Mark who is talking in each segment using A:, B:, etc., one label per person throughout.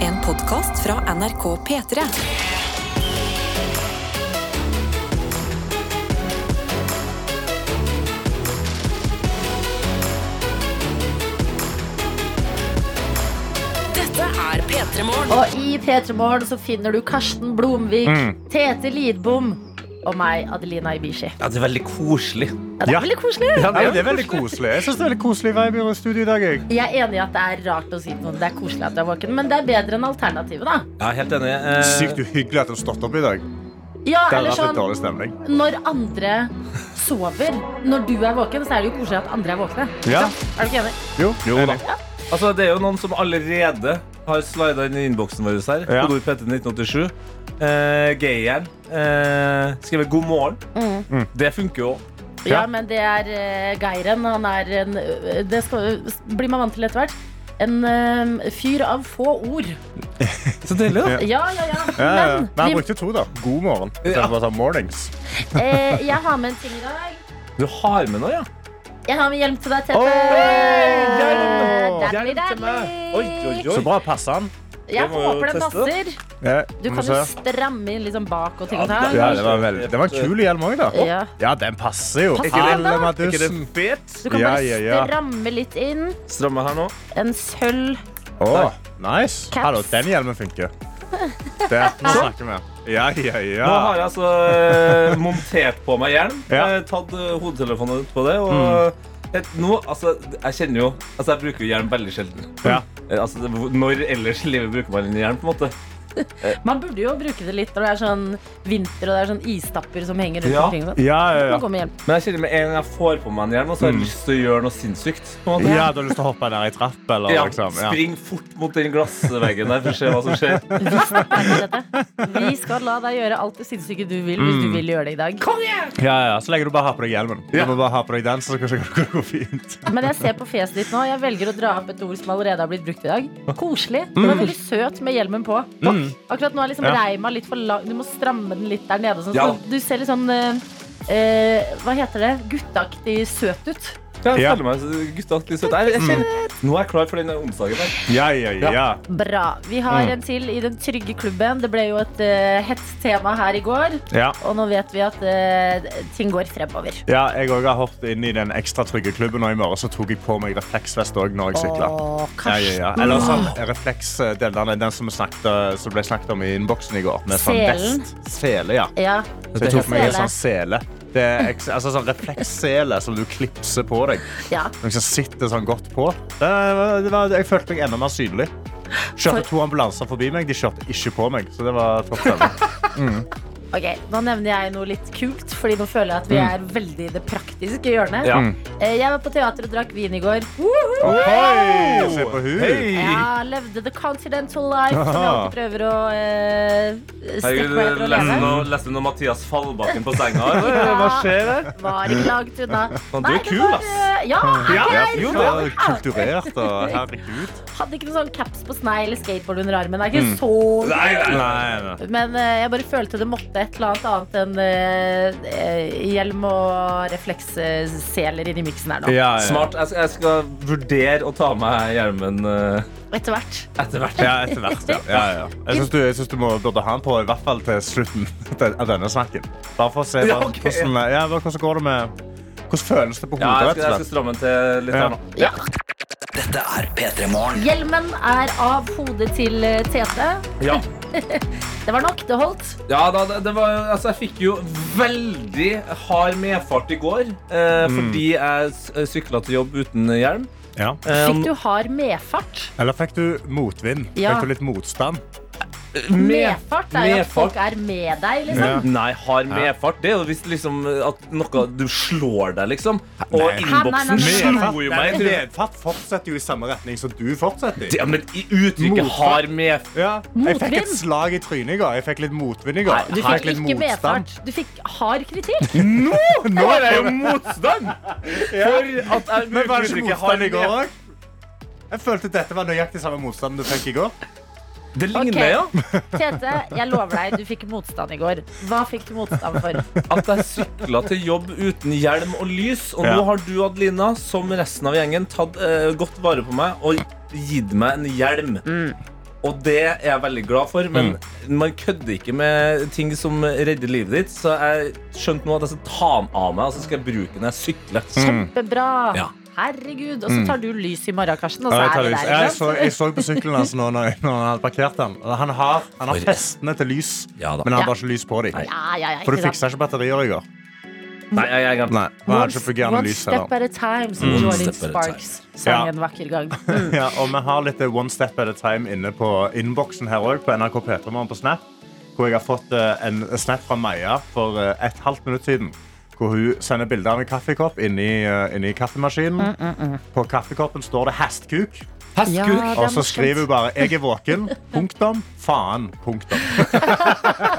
A: En podkast fra NRK P3. Dette er P3 Morgen.
B: Og i P3 Morgen så finner du Karsten Blomvik,
C: Mm.
B: Tete Lidbom og meg, Adelina Ibishi.
D: Ja, det er veldig koselig.
B: Ja, det er
C: Ja.
B: veldig koselig.
C: Ja, det, er veldig koselig. Jeg synes det er veldig koselig vibe i studio i dag. Jeg.
B: Jeg er enig i at det er rart å si noe. Det er koselig at du er våken, men det er bedre enn alternativet, da.
D: Ja, helt enig. Eh,
C: Sykt uhyggelig at du har stått opp i dag.
B: Ja,
C: Det har
B: eller
C: vært
B: sånn
C: litt dårlig stemning.
B: når andre sover. Når du er våken, så er det jo koselig at andre er våkne.
C: Ja.
B: Er du ikke enig?
C: Jo, jo da.
D: Altså, det er jo noen som allerede har slida inn i innboksen vår her.
C: Ja.
D: Kodord PT 1987. Eh, Geieren. Eh, skrevet 'God morgen'.
B: Mm.
C: Mm.
D: Det funker jo.
B: Ja,
C: Ja.
B: men det er eh, Geiren. Han er en eh, Det skal, blir man vant til etter hvert. En eh, fyr av få ord.
D: Så deilig, da.
B: Ja, ja, ja.
C: Ja, ja.
B: Men
C: Nei, jeg
B: vi,
C: brukte to, da. God morgen. Så jeg bare sa mornings.
B: eh, jeg har med en ting i dag.
D: Du har med noe, ja?
B: Jeg har med hjelm til deg, Tete.
C: Oi!
B: Daddy,
C: Hjelm!
B: daddy.
D: Hjelm til meg. Oi, oi, oi.
C: Så bra passa han.
B: Jeg
D: Det må jo
B: håper den
D: teste.
B: passer.
C: Ja,
B: Du
C: må
B: kan jo
C: se.
B: stramme inn litt sånn bak og ting
D: Ja,
B: og tang.
C: ja, det var veldig Det var en kul hjelm òg, da.
B: Ja.
C: Ja, den passer jo.
B: Passer den, da?
C: Alle
D: Er ikke
C: Madussen.
D: det fet?
B: Du kan
C: Ja,
B: bare
C: ja, ja.
B: stramme litt inn.
D: Stramme her nå.
B: En sølv
C: Å, nice.
B: Caps.
C: Hallo, den hjelmen funker. Der, nå snakker vi. Ja, ja, ja.
D: Nå har jeg altså eh, montert på meg hjelm.
C: Ja. Mm.
D: eh, Tatt eh, hodetelefonen ut på det. Og et, nå, altså, jeg kjenner jo Altså, jeg bruker jo hjelm veldig sjelden.
C: Ja.
D: Eh, Altså, det- hvor- når ellers i livet bruker man en hjelm, på en måte?
B: Man burde jo bruke det litt når det er sånn vinter og det er sånn istapper som henger rundt
D: Ja.
B: omkring. Sånn.
C: Ja, ja,
B: Man
C: ja.
B: går med hjelm.
D: Men jeg kjenner med en gang jeg får på meg en hjelm, og så har jeg lyst til å gjøre noe sinnssykt. på en måte.
C: Mm. Ja, du har lyst til å hoppe ned i trapp, eller
D: Ja,
C: liksom. Ja.
D: Spring fort mot den glassveggen der for å se hva som skjer.
B: Vi skal la deg gjøre alt det sinnssyke du vil,
C: Mm.
B: hvis du vil gjøre det i dag.
C: Ja, ja, Så lenge du bare har på deg hjelmen. Du må bare ha på deg den, så kanskje det går fint.
B: Men jeg ser på fjeset ditt nå. Jeg velger å dra opp et ord som allerede har blitt brukt i dag. Koselig. Du var veldig søt med hjelmen på. Akkurat nå er liksom
C: Mm. Ja.
B: reima litt for lang. Du må stramme den litt der nede. og Sånn.
D: Ja.
B: Så du ser litt sånn eh, eh, Hva heter det? Gutteaktig søt ut.
D: Ja, jeg
C: Ja.
D: føler meg så- gutta litt søt. Jeg, jeg
C: Mm.
D: kjenner, nå er jeg klar for den onsdagen der.
C: Ja, ja, ja.
B: Bra. Vi
C: Mm.
B: har en til i Den trygge klubben. Det ble jo et eh, hett tema her i går.
C: Ja,
B: Og nå vet vi at eh, ting går fremover.
C: ja Jeg også har hoppet inn i den ekstra trygge klubben, og i morgen så tok jeg på meg refleksvest også når jeg sykla.
B: Åh,
C: Ja,
B: Karsten.
C: ja, ja. Eller sånn refleks, den, der- den som, vi snakket, som ble snakket om i innboksen i går. Med sånn
B: Selen.
C: vest. Sele, ja.
B: Ja.
C: Så jeg tok meg en
B: Sele.
C: sånn sele. Det er eks- altså sånn reflekssele som du klipser på deg.
B: ja.
C: Noen som sitter sånn godt på. Det var, det var, jeg følte meg enda mer synlig. Kjørte to ambulanser forbi meg, de kjørte ikke på meg. Så det var topp stemning.
B: Ok, Nå nevner jeg noe litt kult, Fordi nå føler jeg at vi er veldig i det praktiske hjørnet.
D: Mm. Ja.
B: Eh, Jeg var på teater og drakk vin i går.
C: Oi, se på hun.
D: Hei!
B: Ja, levde the continental life, som jeg alltid prøver å eh, strekke meg
D: Herregud,
B: etter å
D: leste
B: leve.
D: du noe, leste du noe Mathias Fallbakken på senga? eller?
B: Ja.
D: Hva skjer der?
B: Var ikke langt unna.
D: Faen, du
B: Nei,
D: er
B: det
D: kul,
B: var,
D: ass.
B: eh, Ja,
D: Ja,
B: jeg
D: jo,
B: er
C: Ja, Kulturert og herregud.
B: hadde ikke noen sånn caps på snei eller skateboard under armen. Det er ikke så
D: Nei, nei, nei.
B: Men eh, jeg bare følte det måtte et eller annet annet enn eh, eh, hjelm og refleksseler inn i miksen her nå.
C: Ja,
D: Smart. Jeg skal, jeg skal vurdere å ta av meg hjelmen eh,
B: Etter hvert.
D: etter hvert.
C: Ja, etter hvert. Ja. Ja, ja. Jeg syns du, jeg synes du må, burde ha den på i hvert fall til slutten den- av denne snakken. Bare for å se
D: Ja,
C: hva-
D: ok.
C: hvordan, eh, ja, hva- hvordan går det med Hvordan føles det på
D: Ja,
C: hodet?
D: jeg
C: rett
D: skal,
C: og
D: jeg skal
C: slett?
D: stramme den til litt her nå.
B: Ja. Hjelmen er av hodet til eh, Tete.
D: Ja.
B: Det var nok, det holdt.
D: Ja, da, det, det var, jo- altså, jeg fikk jo veldig hard medfart i går eh,
C: Mm.
D: fordi jeg sykla til jobb uten hjelm.
C: Ja.
D: Eh,
B: Fikk du hard medfart?
C: Eller fikk du motvind?
B: Ja.
C: Fikk du litt motstand?
D: med-
B: Medfart er jo at
D: medfart.
B: folk er med deg, liksom.
C: Ja.
D: Nei, hard medfart. Det er jo hvis liksom, at noe du slår deg, liksom. Og
B: Nei,
C: Nei.
D: innboksen
B: nei, nei, nei.
D: slo jo meg. i trynet.
C: Medfart fortsetter jo i samme retning som du fortsetter.
D: Ja, men i uttrykket
C: Motfart.
D: hard medfart
C: Ja. Jeg fikk
B: Motvind?
C: et slag i trynet i går. Jeg fikk litt motvind i går.
B: Du
C: Jeg
B: fikk
C: litt
B: ikke
C: motstand.
B: medfart. Du fikk hard kritikk.
C: Nå! Nå
D: Det er jo motstand! For at jeg
C: Men var det ikke
D: bruker uttrykket
C: motstand i
D: hard
C: går
D: medfart.
C: òg? Jeg følte dette var nøyaktig samme motstand du fikk i går.
D: Det ligner,
B: Ok.
D: ja.
B: Tete, jeg lover deg, du fikk motstand i går. Hva fikk du motstand for?
D: at jeg sykla til jobb uten hjelm og lys. Og
C: Ja.
D: nå har du, Adelina,
B: Mm.
D: som resten av gjengen, tatt eh, godt vare på meg og gitt meg en hjelm. Og det er jeg veldig glad for, men
C: Mm.
D: man kødder ikke med ting som redder livet ditt. Så jeg skjønte nå at jeg skal ta den av meg, og så skal jeg bruke den når jeg sykler.
C: Mm.
D: Sånn.
B: Kjempebra.
D: Ja.
B: Herregud. Og så tar du lys i Marrakesjen, og
C: Ja,
B: så
C: jeg, tar
B: er vi
C: lys.
B: der.
C: Ja, jeg,
B: ikke
C: så,
B: sant?
C: jeg så på sykkelen hans nå når, når han hadde parkert den. Han har, han har
D: For-
C: festene til lys,
D: Ja da.
C: men han
B: Ja.
C: har bare ikke lys på dem.
B: Ja, ja, ja,
C: For du
B: ikke sant?
C: fiksa ikke batterier i går.
D: Nei, jeg, jeg,
C: Nei, han hadde ikke
B: One
C: fungerende lys Mm.
B: step
C: heller.
B: at a time, som
D: One
B: Jordan
D: step at a time.
B: Sparks sang
C: Ja.
B: en vakker gang.
C: Ja, og vi har litt eh, One Step at a Time inne på innboksen her òg, på NRK P3morgen på Snap. Hvor jeg har fått eh, en snap fra Meia for eh, et halvt minutt siden. Hvor hun sender bilde av en kaffekopp inni, eh, inni kaffemaskinen.
B: Mm,
C: På kaffekoppen står det 'hestkuk',
B: Ja, det er
C: og så
B: morsomt.
C: skriver hun bare 'jeg er våken'. Punktum. Faen. Punktum.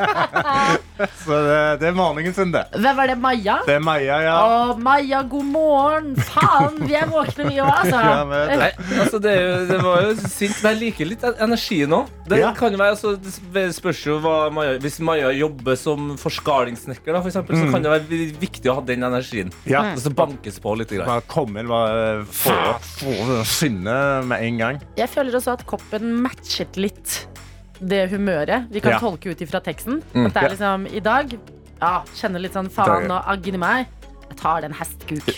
C: så det, det er morgenen sin, det.
B: Hvem var det? Maja?
C: Det er Meia, ja.
B: Å, Maja, god morgen! Faen, vi er våkne, vi òg,
C: Ja, men
B: altså.
C: det-
D: Nei, altså det, er jo, det var jo sint, men jeg liker litt energien òg. Det
C: Ja.
D: kan jo være, altså, det spørs jo hva Maja, Hvis Maja jobber som forskalingssnekker, da, for eksempel, så kan det være vi- viktig å ha den energien.
C: Mm. Ja.
D: Og så bankes på litt. Grann.
C: Bare komme inn, bare eh, få få sinne med en gang.
B: Jeg føler også at koppen matchet litt det humøret. Vi kan
C: Ja. Mm.
B: tolke ut ifra teksten. At det er liksom i dag Ja, kjenner litt sånn faen og aggen i meg. Jeg tar den
C: Det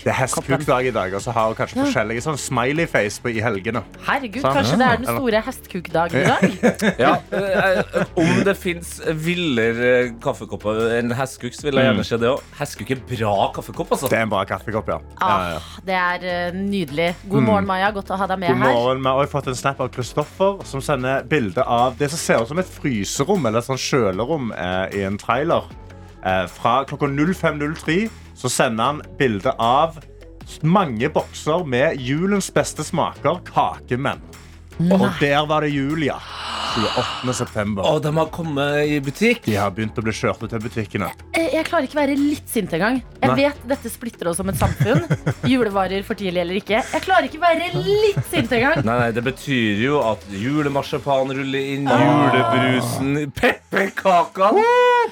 C: er
B: hestkuk-koppen.
C: hestkukdag i dag, og så har hun kanskje forskjellige sånn smiley-face på- i helgene.
B: Herregud,
C: Sant.
B: kanskje det er den store hestkukdagen i dag?
D: Ja, eh, eh, om det fins villere kaffekopper enn hestkuk, så vil jeg gjerne se det òg. Hestkuk er bra kaffekopp, altså.
C: Mm. Det er en bra kaffekopp, ja. ja, ja.
B: Ah, det er eh, nydelig. God morgen, Maja. Godt å ha deg
C: God
B: med her.
C: morgen. Vi har også fått en snap av Kristoffer som sender bilde av det som ser ut som et fryserom eller et sånn kjølerom eh, i en trailer. Eh, fra klokka 05.03 så sender han bilde av mange bokser med julens beste smaker, kakemenn. Og der var det jul, ja. 28. september.
D: Og de har kommet i butikk.
C: De har begynt å bli kjørt ut til butikkene.
B: Eh, Jeg klarer ikke å være litt sint engang. Jeg
C: Nei.
B: vet dette splitter oss som et samfunn. Julevarer for tidlig eller ikke. Jeg klarer ikke å være litt sint engang.
D: Nei, nei, Det betyr jo at julemarsipan ruller inn,
C: Ah.
D: julebrusen, pepperkakene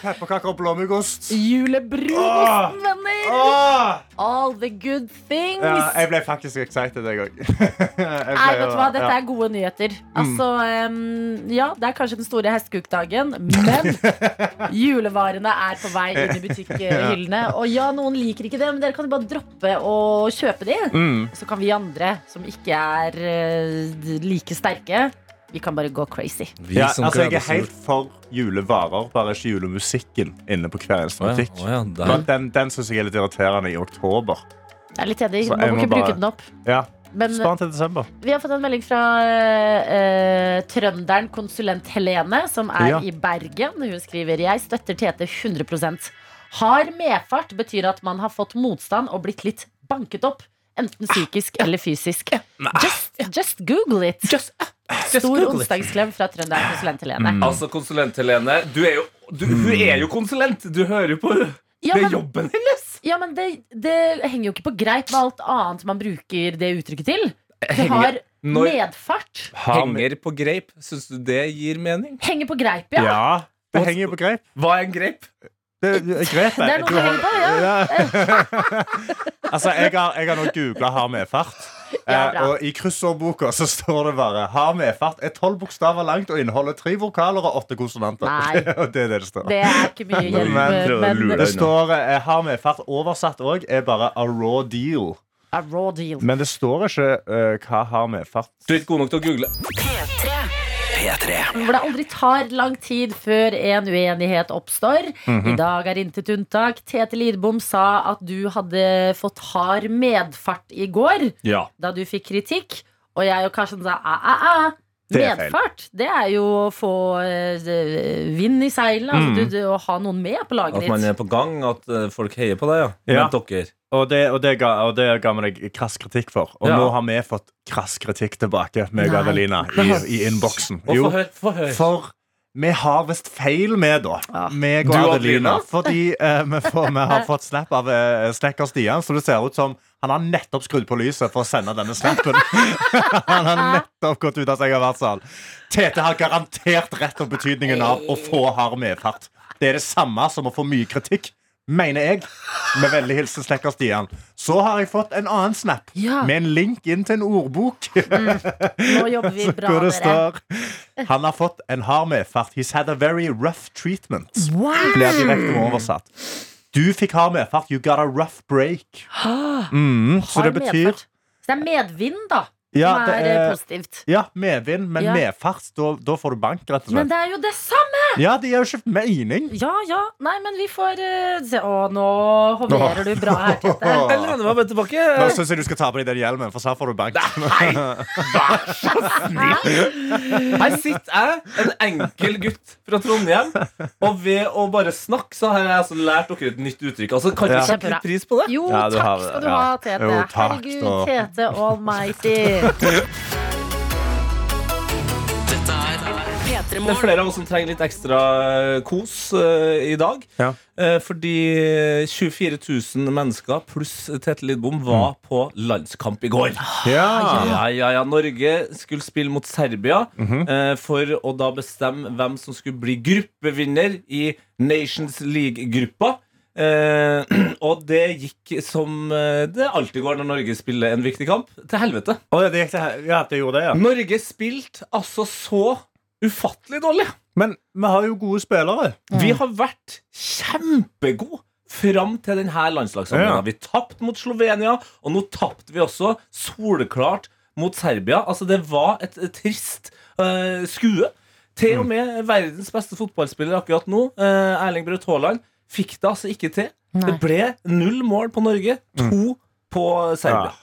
C: Pepperkaker og blåmuggost. Ah!
B: Julebrunosten, venner!
C: Åh!
B: All the good things.
C: Ja, jeg ble faktisk excited, jeg òg.
B: Nei, vet du hva, Dette er gode nyheter.
C: Mm.
B: Altså, em, Ja, det er kanskje den store hestekukdagen, men julevarene er på vei inn i butikkhyllene. Og ja, noen liker ikke det, men dere kan jo bare droppe å kjøpe de.
C: Mm.
B: Så kan vi andre, som ikke er eh, like sterke, vi kan bare gå crazy.
C: ja, altså, jeg er helt for julevarer, bare ikke julemusikken inne på hver eneste
D: Å ja,
C: butikk.
D: å ja, der.
C: Men Den, den syns jeg er litt irriterende i oktober.
B: Jeg er litt enig.
C: Så
B: Man
C: jeg
B: må
C: må
B: ikke
C: bare-
B: bruke den opp.
C: Ja,
B: Men
C: Spar den til desember.
B: Vi har fått en melding fra eh, eh, trønderen konsulent Helene, som er
C: Ja.
B: i Bergen. Hun skriver Jeg støtter Tete 100 Hard medfart betyr at man har fått motstand og blitt litt banket opp. Enten psykisk eller fysisk. Just, just google it. Stor
D: Google it.
B: onsdagsklem fra trønderen konsulent Helene.
D: Altså, konsulent-Helene du er jo, du, Hun er jo konsulent! Du hører jo på henne.
B: Ja,
D: Det er
B: men,
D: jobben hennes!
B: ja, men det, det henger jo ikke på greip med alt annet man bruker det uttrykket til. Du har
D: Når-
B: medfart.
D: Henger på greip. Syns du det gir mening?
B: Henger på greip,
C: Ja.
B: ja.
C: det henger jo på grep.
D: Hva er en greip?
C: Det, grep
B: Det er noe som henger på, ja.
C: altså, jeg har, jeg har nå googla 'har medfart'.
B: Ja,
C: eh,
B: bra.
C: og i kryssordboka så står det bare 'har medfart' er tolv bokstaver langt og inneholder tre vokaler og åtte konsonanter.
B: Nei.
C: og det er det det står.
B: Det er ikke mye
D: Men- men-
B: hjelp, men,
D: lurer.
C: Det står eh, har medfart oversatt òg, er bare a raw deal.
B: a raw deal.
C: Men det står ikke eh, hva har medfart.
D: Du er ikke god nok til å google.
B: Hvor det aldri tar lang tid før en uenighet oppstår.
C: Mhm.
B: I dag er intet unntak. Tete Lidbom sa at du hadde fått hard medfart i går
D: Ja.
B: da du fikk kritikk. Og jeg og Karsten sa æ, æ, æ.
C: Det er feil.
B: Medfart, det er jo å få eh, vind i seilene. Altså,
C: Mhm.
B: du, du, å ha noen med på laget
D: At man
B: ditt.
D: er på gang, at eh, folk heier på deg, ja.
C: Ja.
D: Men dere
C: Og det, og, det ga, og det ga vi deg krass kritikk for. Og
D: Ja.
C: nå har vi fått krass kritikk tilbake, meg og
B: Nei.
C: Adelina, i, i innboksen.
D: Og få høre. Få høre.
C: for vi har visst feil med, da.
B: Ja.
C: Meg og
D: Du og
C: Adelina.
D: Adelina?
C: Fordi eh, vi, får, vi har fått snap av eh, snekker Stian, så det ser ut som han har nettopp skrudd på lyset for å sende denne snappen. han har nettopp gått ut av seg av vertshal. Tete har garantert rett om betydningen av å få hard medfart. Det er det samme som å få mye kritikk. Mener jeg, med vennlig hilsen snekker Stian. Så har jeg fått en annen snap
B: Ja.
C: med en link inn til en ordbok.
B: Nå jobber vi bra,
C: Hvor det
B: dere.
C: står Han har fått en hard medfart. He's had a very rough treatment.
B: Wow.
C: Blir direkte oversatt. Du fikk hard medfart. You got a rough break. Mm, så det betyr
B: Så det er medvind, da,
C: Ja,
B: som
C: det
B: er, eh,
C: er-
B: positivt.
C: ja, medvind, men
B: Ja.
C: medfart. Da, da får du bank, rett og
B: Men
C: slett.
B: det er jo det samme!
C: Ja, det gir jo ikke mening.
B: Ja, ja. Nei, men vi får eh, se. Å, nå hoverer du bra her, Tete.
D: Jeg lener meg bare tilbake.
C: Nå syns jeg du skal ta på deg den hjelmen, for så her får du bank.
D: Ah, Her sitter jeg, en enkel gutt fra Trondheim, og ved å bare snakke så har jeg altså lært dere et nytt uttrykk. Altså, kan ikke
C: Ja.
D: sette litt pris på det?
B: Jo,
C: Ja, du
B: takk
C: har-
B: skal du
C: ja.
B: ha, Tete.
C: Jo, takk
B: Herregud,
C: skal-
B: Tete almighty.
A: P3
D: Det er
A: Morgen.
D: flere av oss som trenger litt ekstra eh, kos eh, i dag.
C: Ja.
D: Eh, fordi 24 000 mennesker pluss Tete Lidbom var på landskamp i går.
C: Ja.
D: Ja, ja, ja. Norge skulle spille mot Serbia eh, for å da bestemme hvem som skulle bli gruppevinner i Nations League-gruppa. Eh, og det gikk som eh, det alltid går når Norge spiller en viktig kamp. Til helvete.
C: Å, ja, det gikk til- ja, det gjorde det, ja.
D: Norge spilte altså så ufattelig dårlig.
C: Men vi har jo gode spillere.
D: Vi har vært kjempegode fram til denne landslagssamlinga.
C: Ja.
D: Vi tapte mot Slovenia, og nå tapte vi også soleklart mot Serbia. Altså, det var et eh, trist eh, skue. Til og med verdens beste fotballspiller akkurat nå, eh, Erling Braut Haaland, fikk det altså ikke til. Det ble null mål på Norge, to på Serbia.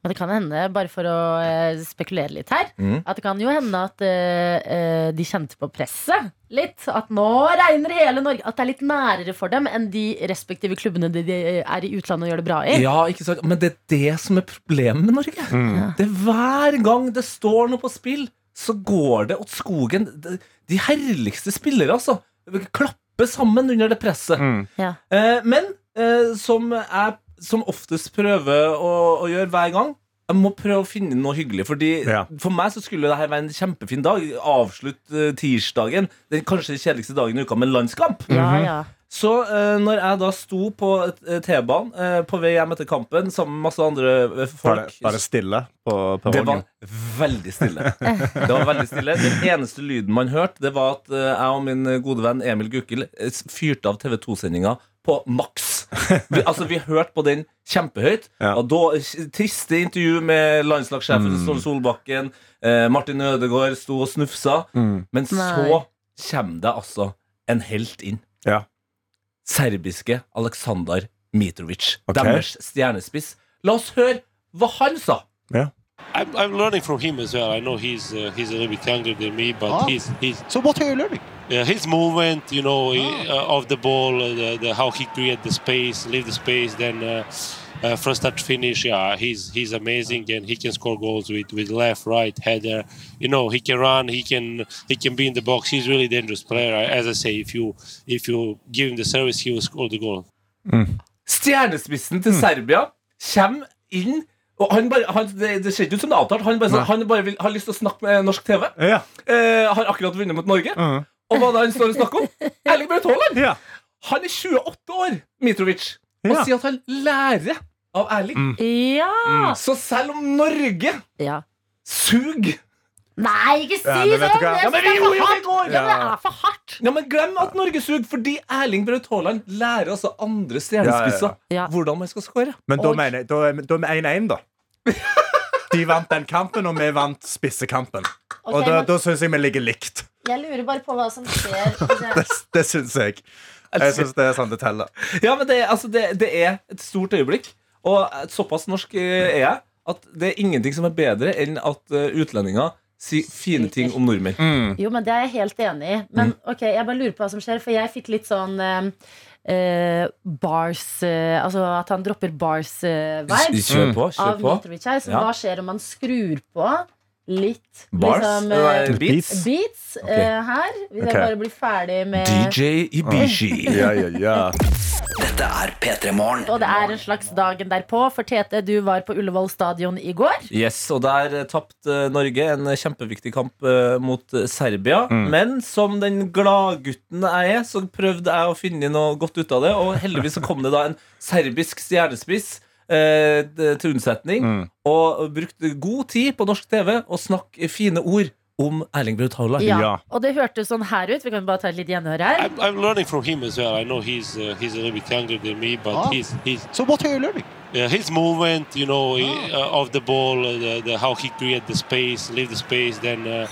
B: Men det kan hende, bare for å eh, spekulere litt her,
D: Mm.
B: at det kan jo hende at eh, eh, de kjente på presset litt. At nå regner hele Norge. At det er litt nærere for dem enn de respektive klubbene de, de er i utlandet og gjør det bra i.
D: Ja, ikke sant? Men det er det som er problemet med Norge. Det er Hver gang det står noe på spill, så går det åt skogen. De- De herligste spillere, altså. Klapper sammen under det presset.
B: Ja.
D: Eh, men eh, som jeg som oftest prøver å, å gjøre hver gang jeg må prøve å finne noe hyggelig. Fordi
C: Ja.
D: For meg så skulle dette være en kjempefin dag. Avslutt eh, tirsdagen, den kanskje kjedeligste dagen i uka, med landskamp.
B: Ja,
C: Mhm.
B: ja.
D: Så eh, når jeg da sto på eh, T-banen eh, på vei hjem etter kampen sammen med masse andre eh,
C: Var
D: folk
C: det, var det stille på
D: det var
C: perrongen?
D: veldig stille. Det var veldig stille Den eneste lyden man hørte, det var at eh, jeg og min gode venn Emil Gukild eh, s- fyrte av TV2-sendinga på maks. Vi, altså, vi hørte på den kjempehøyt.
C: Ja.
D: Og da eh, triste intervju med landslagssjefen Ståle Solbakken. Eh, Martin Ødegaard sto og snufsa.
C: Mm.
D: Men så
B: Nei.
D: kommer det altså en helt inn.
C: Ja.
D: Serbiske Aleksandar Mitrovic.
C: Ok.
D: Deres stjernespiss. La oss høre hva han sa.
E: I'm, I'm learning from him as well. I know he's uh, he's a little bit younger than me, but
F: Ah.
E: he's he's
F: So what are you learning? Ah.
E: yeah, his movement, you know, he, uh, of the ball, uh, the, the how he create the space, leave the space, then uh, uh, first touch finish. Yeah, he's he's amazing, and he can score goals with, with left, right, header. You know, he can run, he can he can be in the box. He's really dangerous player. As I say, if you if you give him the service, he will score the goal.
D: Stjernespissen
C: Mm.
D: til Serbia kommer inn og han bare, han, det, det ser ikke ut som det er avtalt. Han bare, sa- han bare vil, har lyst til å snakke med norsk TV.
C: Ja.
D: Eh, har akkurat vunnet mot Norge.
C: Mhm.
D: Og hva er det han står og snakker om? Erling Braut Haaland!
C: Ja.
D: Han er 28 år, Mitrovic, og
C: Ja. Mm.
D: sier at han lærer av Erling.
B: ja.
D: Så selv om Norge
B: ja.
D: suger
B: Nei, ikke si
C: Ja, men
B: det!
C: vet du hva?
B: Jeg
C: Ja,
B: synes det
D: men vi
B: er for
D: gjorde jo det
B: hardt.
D: i går.
B: Ja, men det
C: Ja.
B: er for hardt!
D: Ja, men Glem at Norge suger, fordi Erling Braut Haaland lærer altså andre stjernespisser
B: Ja.
D: hvordan man skal score.
C: Men da
B: Og-
C: mener jeg, da er da er vi 1-1, da. De vant den kampen, og vi vant spissekampen.
B: Ok,
C: og da,
B: men-
C: da syns jeg vi ligger likt.
B: Jeg lurer bare på hva som skjer. hvis jeg-
C: Det, det syns jeg. Jeg syns det er sånn det teller.
D: Ja, men det, altså, det, det er et stort øyeblikk. Og såpass norsk eh, er jeg at det er ingenting som er bedre enn at eh, utlendinger sier fine ting om nordmenn.
C: Mm.
B: Jo, men det er jeg helt enig i. Men
D: Mm.
B: ok, jeg bare lurer på hva som skjer, for jeg fikk litt sånn eh, eh, bars eh, Altså at han dropper bars-vibes
D: Kjør på.
B: av
D: kjør på
B: Mitrovic her. Så
D: Ja.
B: hva skjer om man skrur på litt
D: Bars?
B: liksom, eh,
D: Nei, beats?
B: beats eh,
D: Ok.
B: her? Hvis
C: Ok.
B: jeg bare blir ferdig med
D: DJ Ibishi.
C: Ja, ja, ja.
G: Dette er P3 Morgen.
B: Og det er en slags dagen derpå, for Tete, du var på Ullevål stadion i går.
D: Yes, og der eh, tapte eh, Norge en eh, kjempeviktig kamp eh, mot eh, Serbia. Men som den gladgutten jeg er, så prøvde jeg å finne noe godt ut av det. Og heldigvis så kom det da en serbisk stjernespiss eh, d- til unnsetning. Og brukte god tid på norsk TV og snakk fine ord om Erling Braut Haaland.
B: Ja.
C: Ja.
B: Og det hørtes sånn her ut. Vi kan bare ta et lite gjenhør her.
E: I'm, I'm learning from him as well. I know he's uh, he's a little bit younger than me, but
C: Ah.
E: he's he's
C: So what are you learning? Oh.
E: Yeah, his movement, you know, he- uh, of the ball, uh, the, the, how he create the space, leave the space, then uh,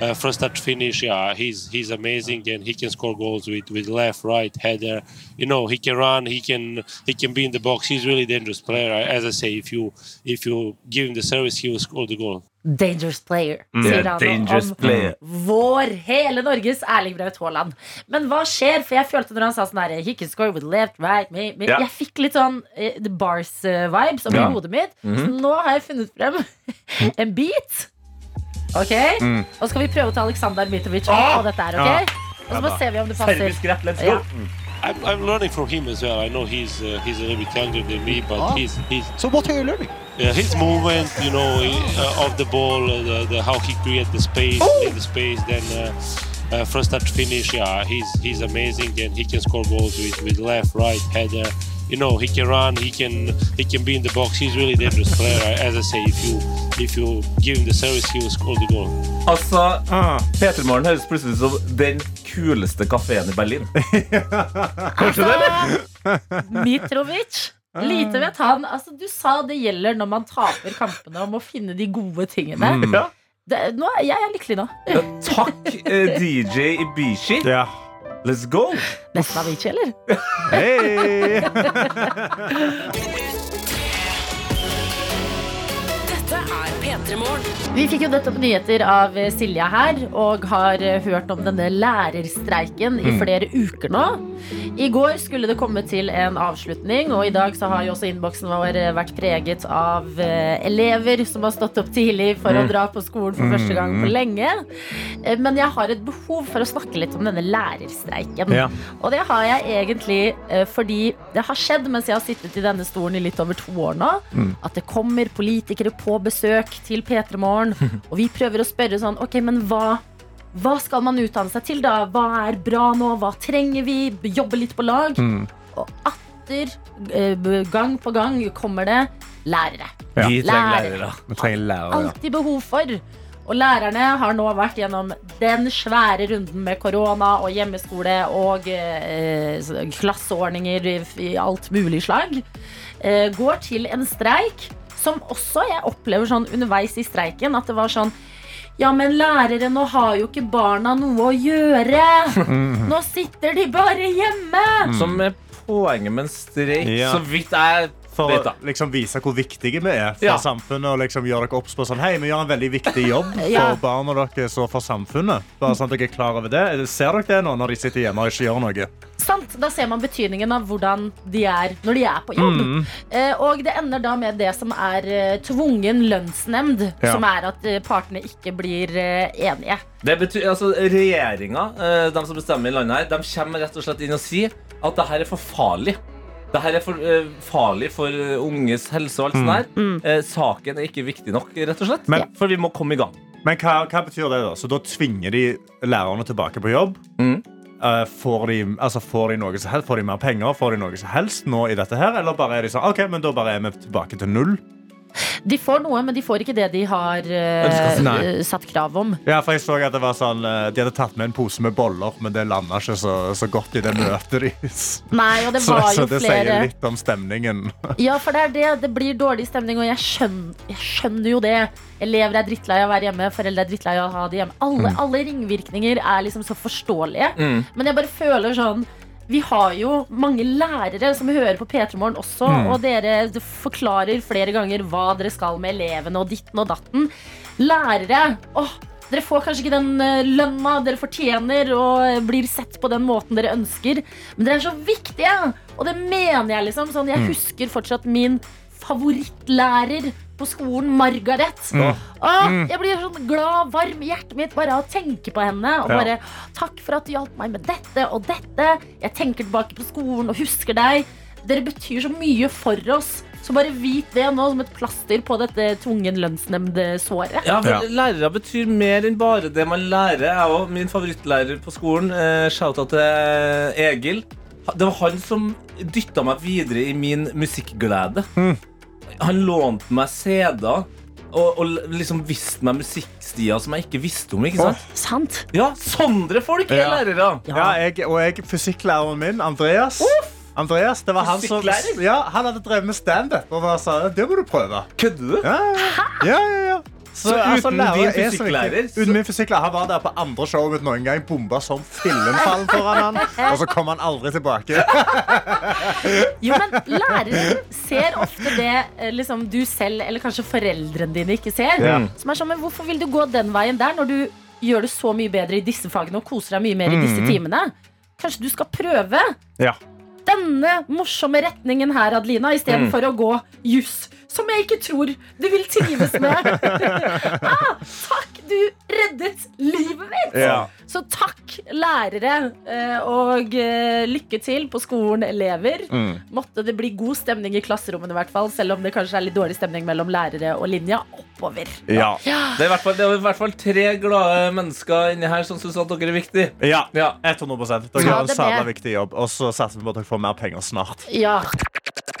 E: uh, from start to finish. Yeah, he's he's amazing, and he can score goals with, with left, right, header. You know, he can run, he can he can be in the box. He's really dangerous player. I- As I say, if you if you give him the service, he will score the goal.
B: Dangerous player, sier han
D: Mm. dangerous
B: om
D: player.
B: vår, hele Norges Erling Braut Haaland. Men hva skjer? For jeg følte når han sa sånn her He can score with left, right, me, me.
D: Ja.
B: Jeg fikk litt sånn eh, The Bars-vibes oppi
D: Ja. Mhm.
B: hodet mitt. Så nå har jeg funnet frem en beat. Ok? Og så skal vi prøve å ta Aleksandr Mitrovic
D: Mm. Ah!
B: på dette her, ok? Og så må vi se vi om det passer.
D: Serbisk rett, let's
B: Ja.
D: go!
E: I'm, I'm learning from him as well. I know he's uh, he's a little bit younger than me, but he's he's
C: Ah. So what are you learning?
E: Yeah, his movement, you know, he- uh, of the ball, uh, the, the, how he create the space,
C: Oh!
E: leave the space, then uh, uh, from start to finish, yeah, he's he's amazing and he can score goals with, with left, right, header. You know, he can run, he can he can be in the box. He's really dangerous player. As I say, if you if you give him the service, he will score the goal.
D: Altså, Petermorgen høres plutselig ut som den kuleste kafeen i Berlin.
B: Mitrovic. Lite vet han. Altså, du sa det gjelder når man taper kampene, om å finne de gode tingene.
D: Mm. Ja.
B: Det, nå, er- jeg er lykkelig nå.
D: Ja, Takk, eh, DJ Ibishi.
C: Ja.
D: Let's go!
B: Nesten Avicii, eller?
C: Hei!
A: Dette er P3 Morgen.
B: Vi fikk jo nettopp nyheter av eh, Silja her, og har eh, hørt om denne lærerstreiken i flere uker nå. I går skulle det komme til en avslutning, og i dag så har jo også innboksen vår eh, vært preget av eh, elever som har stått opp tidlig for å dra på skolen for første gang på lenge. Eh, Men jeg har et behov for å snakke litt om denne lærerstreiken.
C: Ja.
B: Og det har jeg egentlig eh, fordi det har skjedd mens jeg har sittet i denne stolen i litt over to år nå,
C: Mm.
B: at det kommer politikere på besøk til P3 Morgen, og vi prøver å spørre sånn Ok, men hva hva skal man utdanne seg til, da? Hva er bra nå? Hva trenger vi? Jobbe litt på lag.
C: Mm.
B: Og atter eh, gang på gang kommer det lærere.
C: Ja.
D: Vi trenger
B: Lærer.
D: lærere.
C: Vi trenger lærere.
B: Alltid behov for. Og lærerne har nå vært gjennom den svære runden med korona og hjemmeskole og eh, s- klasseordninger i, i alt mulig slag. Eh, går til en streik som også jeg opplever sånn underveis i streiken at det var sånn ja, men lærere, nå har jo ikke barna noe å gjøre. Nå sitter de bare hjemme.
D: Som er poenget med en streik,
C: Mm. Ja.
D: så vidt jeg
C: For
D: vet. da.
C: å liksom vise hvor viktige vi er for
D: Ja.
C: samfunnet. Og liksom gjøre dere obs på sånn, Hei, vi gjør en veldig viktig jobb for
B: Ja.
C: barna deres og for samfunnet. Bare sånn at dere er klar over det. Ser dere det nå når de sitter hjemme og ikke gjør noe?
B: Sant, Da ser man betydningen av hvordan de er når de er på jobb.
C: Mm.
B: Eh, og det ender da med det som er eh, tvungen lønnsnemnd,
C: Ja.
B: som er at eh, partene ikke blir eh, enige.
D: Det betyr, altså Regjeringa, eh, de som bestemmer i landet her, de kommer rett og slett inn og sier at det her er for farlig. Det her er for eh, farlig for eh, unges helse og alt sånt der. Eh, saken er ikke viktig nok, rett og slett.
C: Mm. Men-
D: for vi må komme i gang.
C: Men hva, hva betyr det, da? Så da tvinger de lærerne tilbake på jobb?
D: Mhm.
C: Eh, får, de, altså får, de noe som helst, får de mer penger? Får de noe som helst nå i dette her? Eller bare er de sånn OK, men da bare er vi tilbake til null?
B: De får noe, men de får ikke det de har eh,
D: Ønsket.
C: Nei.
B: eh, satt krav om.
C: Ja, for jeg så at det var sånn eh, De hadde tatt med en pose med boller, men det landa ikke så, så godt i det møtet deres.
B: Nei, og det
C: Så,
B: var
C: så
B: jo
C: det
B: flere
C: sier litt om stemningen.
B: Ja, for det er det. Det blir dårlig stemning, og jeg skjønner, jeg skjønner jo det. Elever er drittlei av å være hjemme, foreldre er drittlei av å ha det hjemme. Alle, alle ringvirkninger er liksom så forståelige. Men jeg bare føler sånn vi har jo mange lærere som hører på P3 Morgen også, og dere d- forklarer flere ganger hva dere skal med elevene og ditten og datten. Lærere! åh, dere får kanskje ikke den eh, lønna dere fortjener og eh, blir sett på den måten dere ønsker, men dere er så viktige! Og det mener jeg, liksom. Sånn, jeg husker fortsatt min favorittlærer på skolen, Margaret. Åh, jeg blir sånn glad, varm i hjertet mitt bare av å tenke på henne. Og
C: Ja.
B: bare Takk for at du hjalp meg med dette og dette. Jeg tenker tilbake på skolen og husker deg. Dere betyr så mye for oss. Så bare vit det nå som et plaster på dette tvungen lønnsnemnd-såret.
C: Ja.
D: Ja, for Lærere betyr mer enn bare det man lærer. Jeg også, min favorittlærer på skolen, eh, shouta til eh, Egil. Ha- Det var han som dytta
C: Hmm.
D: meg videre i min musikkglede. Han lånte meg CD-er. og, og liksom visste meg musikkstier som jeg ikke visste om. ikke sant?
B: Sant?
D: Ja, Sondre folk er
C: Ja.
D: lærere!
C: Ja, jeg, og jeg, fysikklæreren min, Andreas Andreas, det var han som
D: Fysikklærer?
C: ja, Han hadde drevet med standup og bare sa det må du prøve.
D: Kødder du?
C: Ja, ja, ja, ja, ja.
D: Så uten
C: lærer
D: din
C: er så viktig.
D: fysikklærer, så-
C: Uten min fysikklærer Han var der på andre showet mitt noen gang, bomba som fillenfall foran han, og så kom han aldri tilbake.
B: Jo, men lærere ser ofte det eh, liksom, du selv eller kanskje foreldrene dine ikke ser.
C: Ja.
B: Som er sånn, men Hvorfor vil du gå den veien der når du gjør det så mye bedre i disse fagene og koser deg mye mer i disse timene? Kanskje du skal prøve
C: Ja.
B: denne morsomme retningen her, Adelina, istedenfor å gå juss, som jeg ikke tror du vil trives med. ah, takk, du reddet livet mitt!
C: Ja.
B: Så takk, lærere, eh, og eh, lykke til på skolen, elever. Måtte det bli god stemning i klasserommene, i hvert fall, selv om det kanskje er litt dårlig stemning mellom lærere og linja oppover.
C: Ja.
D: Det er, i hvert fall, det er i hvert fall tre glade mennesker inni her som syns at dere er viktige.
C: ja.
D: Ja.
C: 100 Dere
B: Ja,
C: gjør en
B: det
C: sabla
B: ble-
C: viktig jobb. Og så satser vi på at dere får mer penger snart.
B: Ja,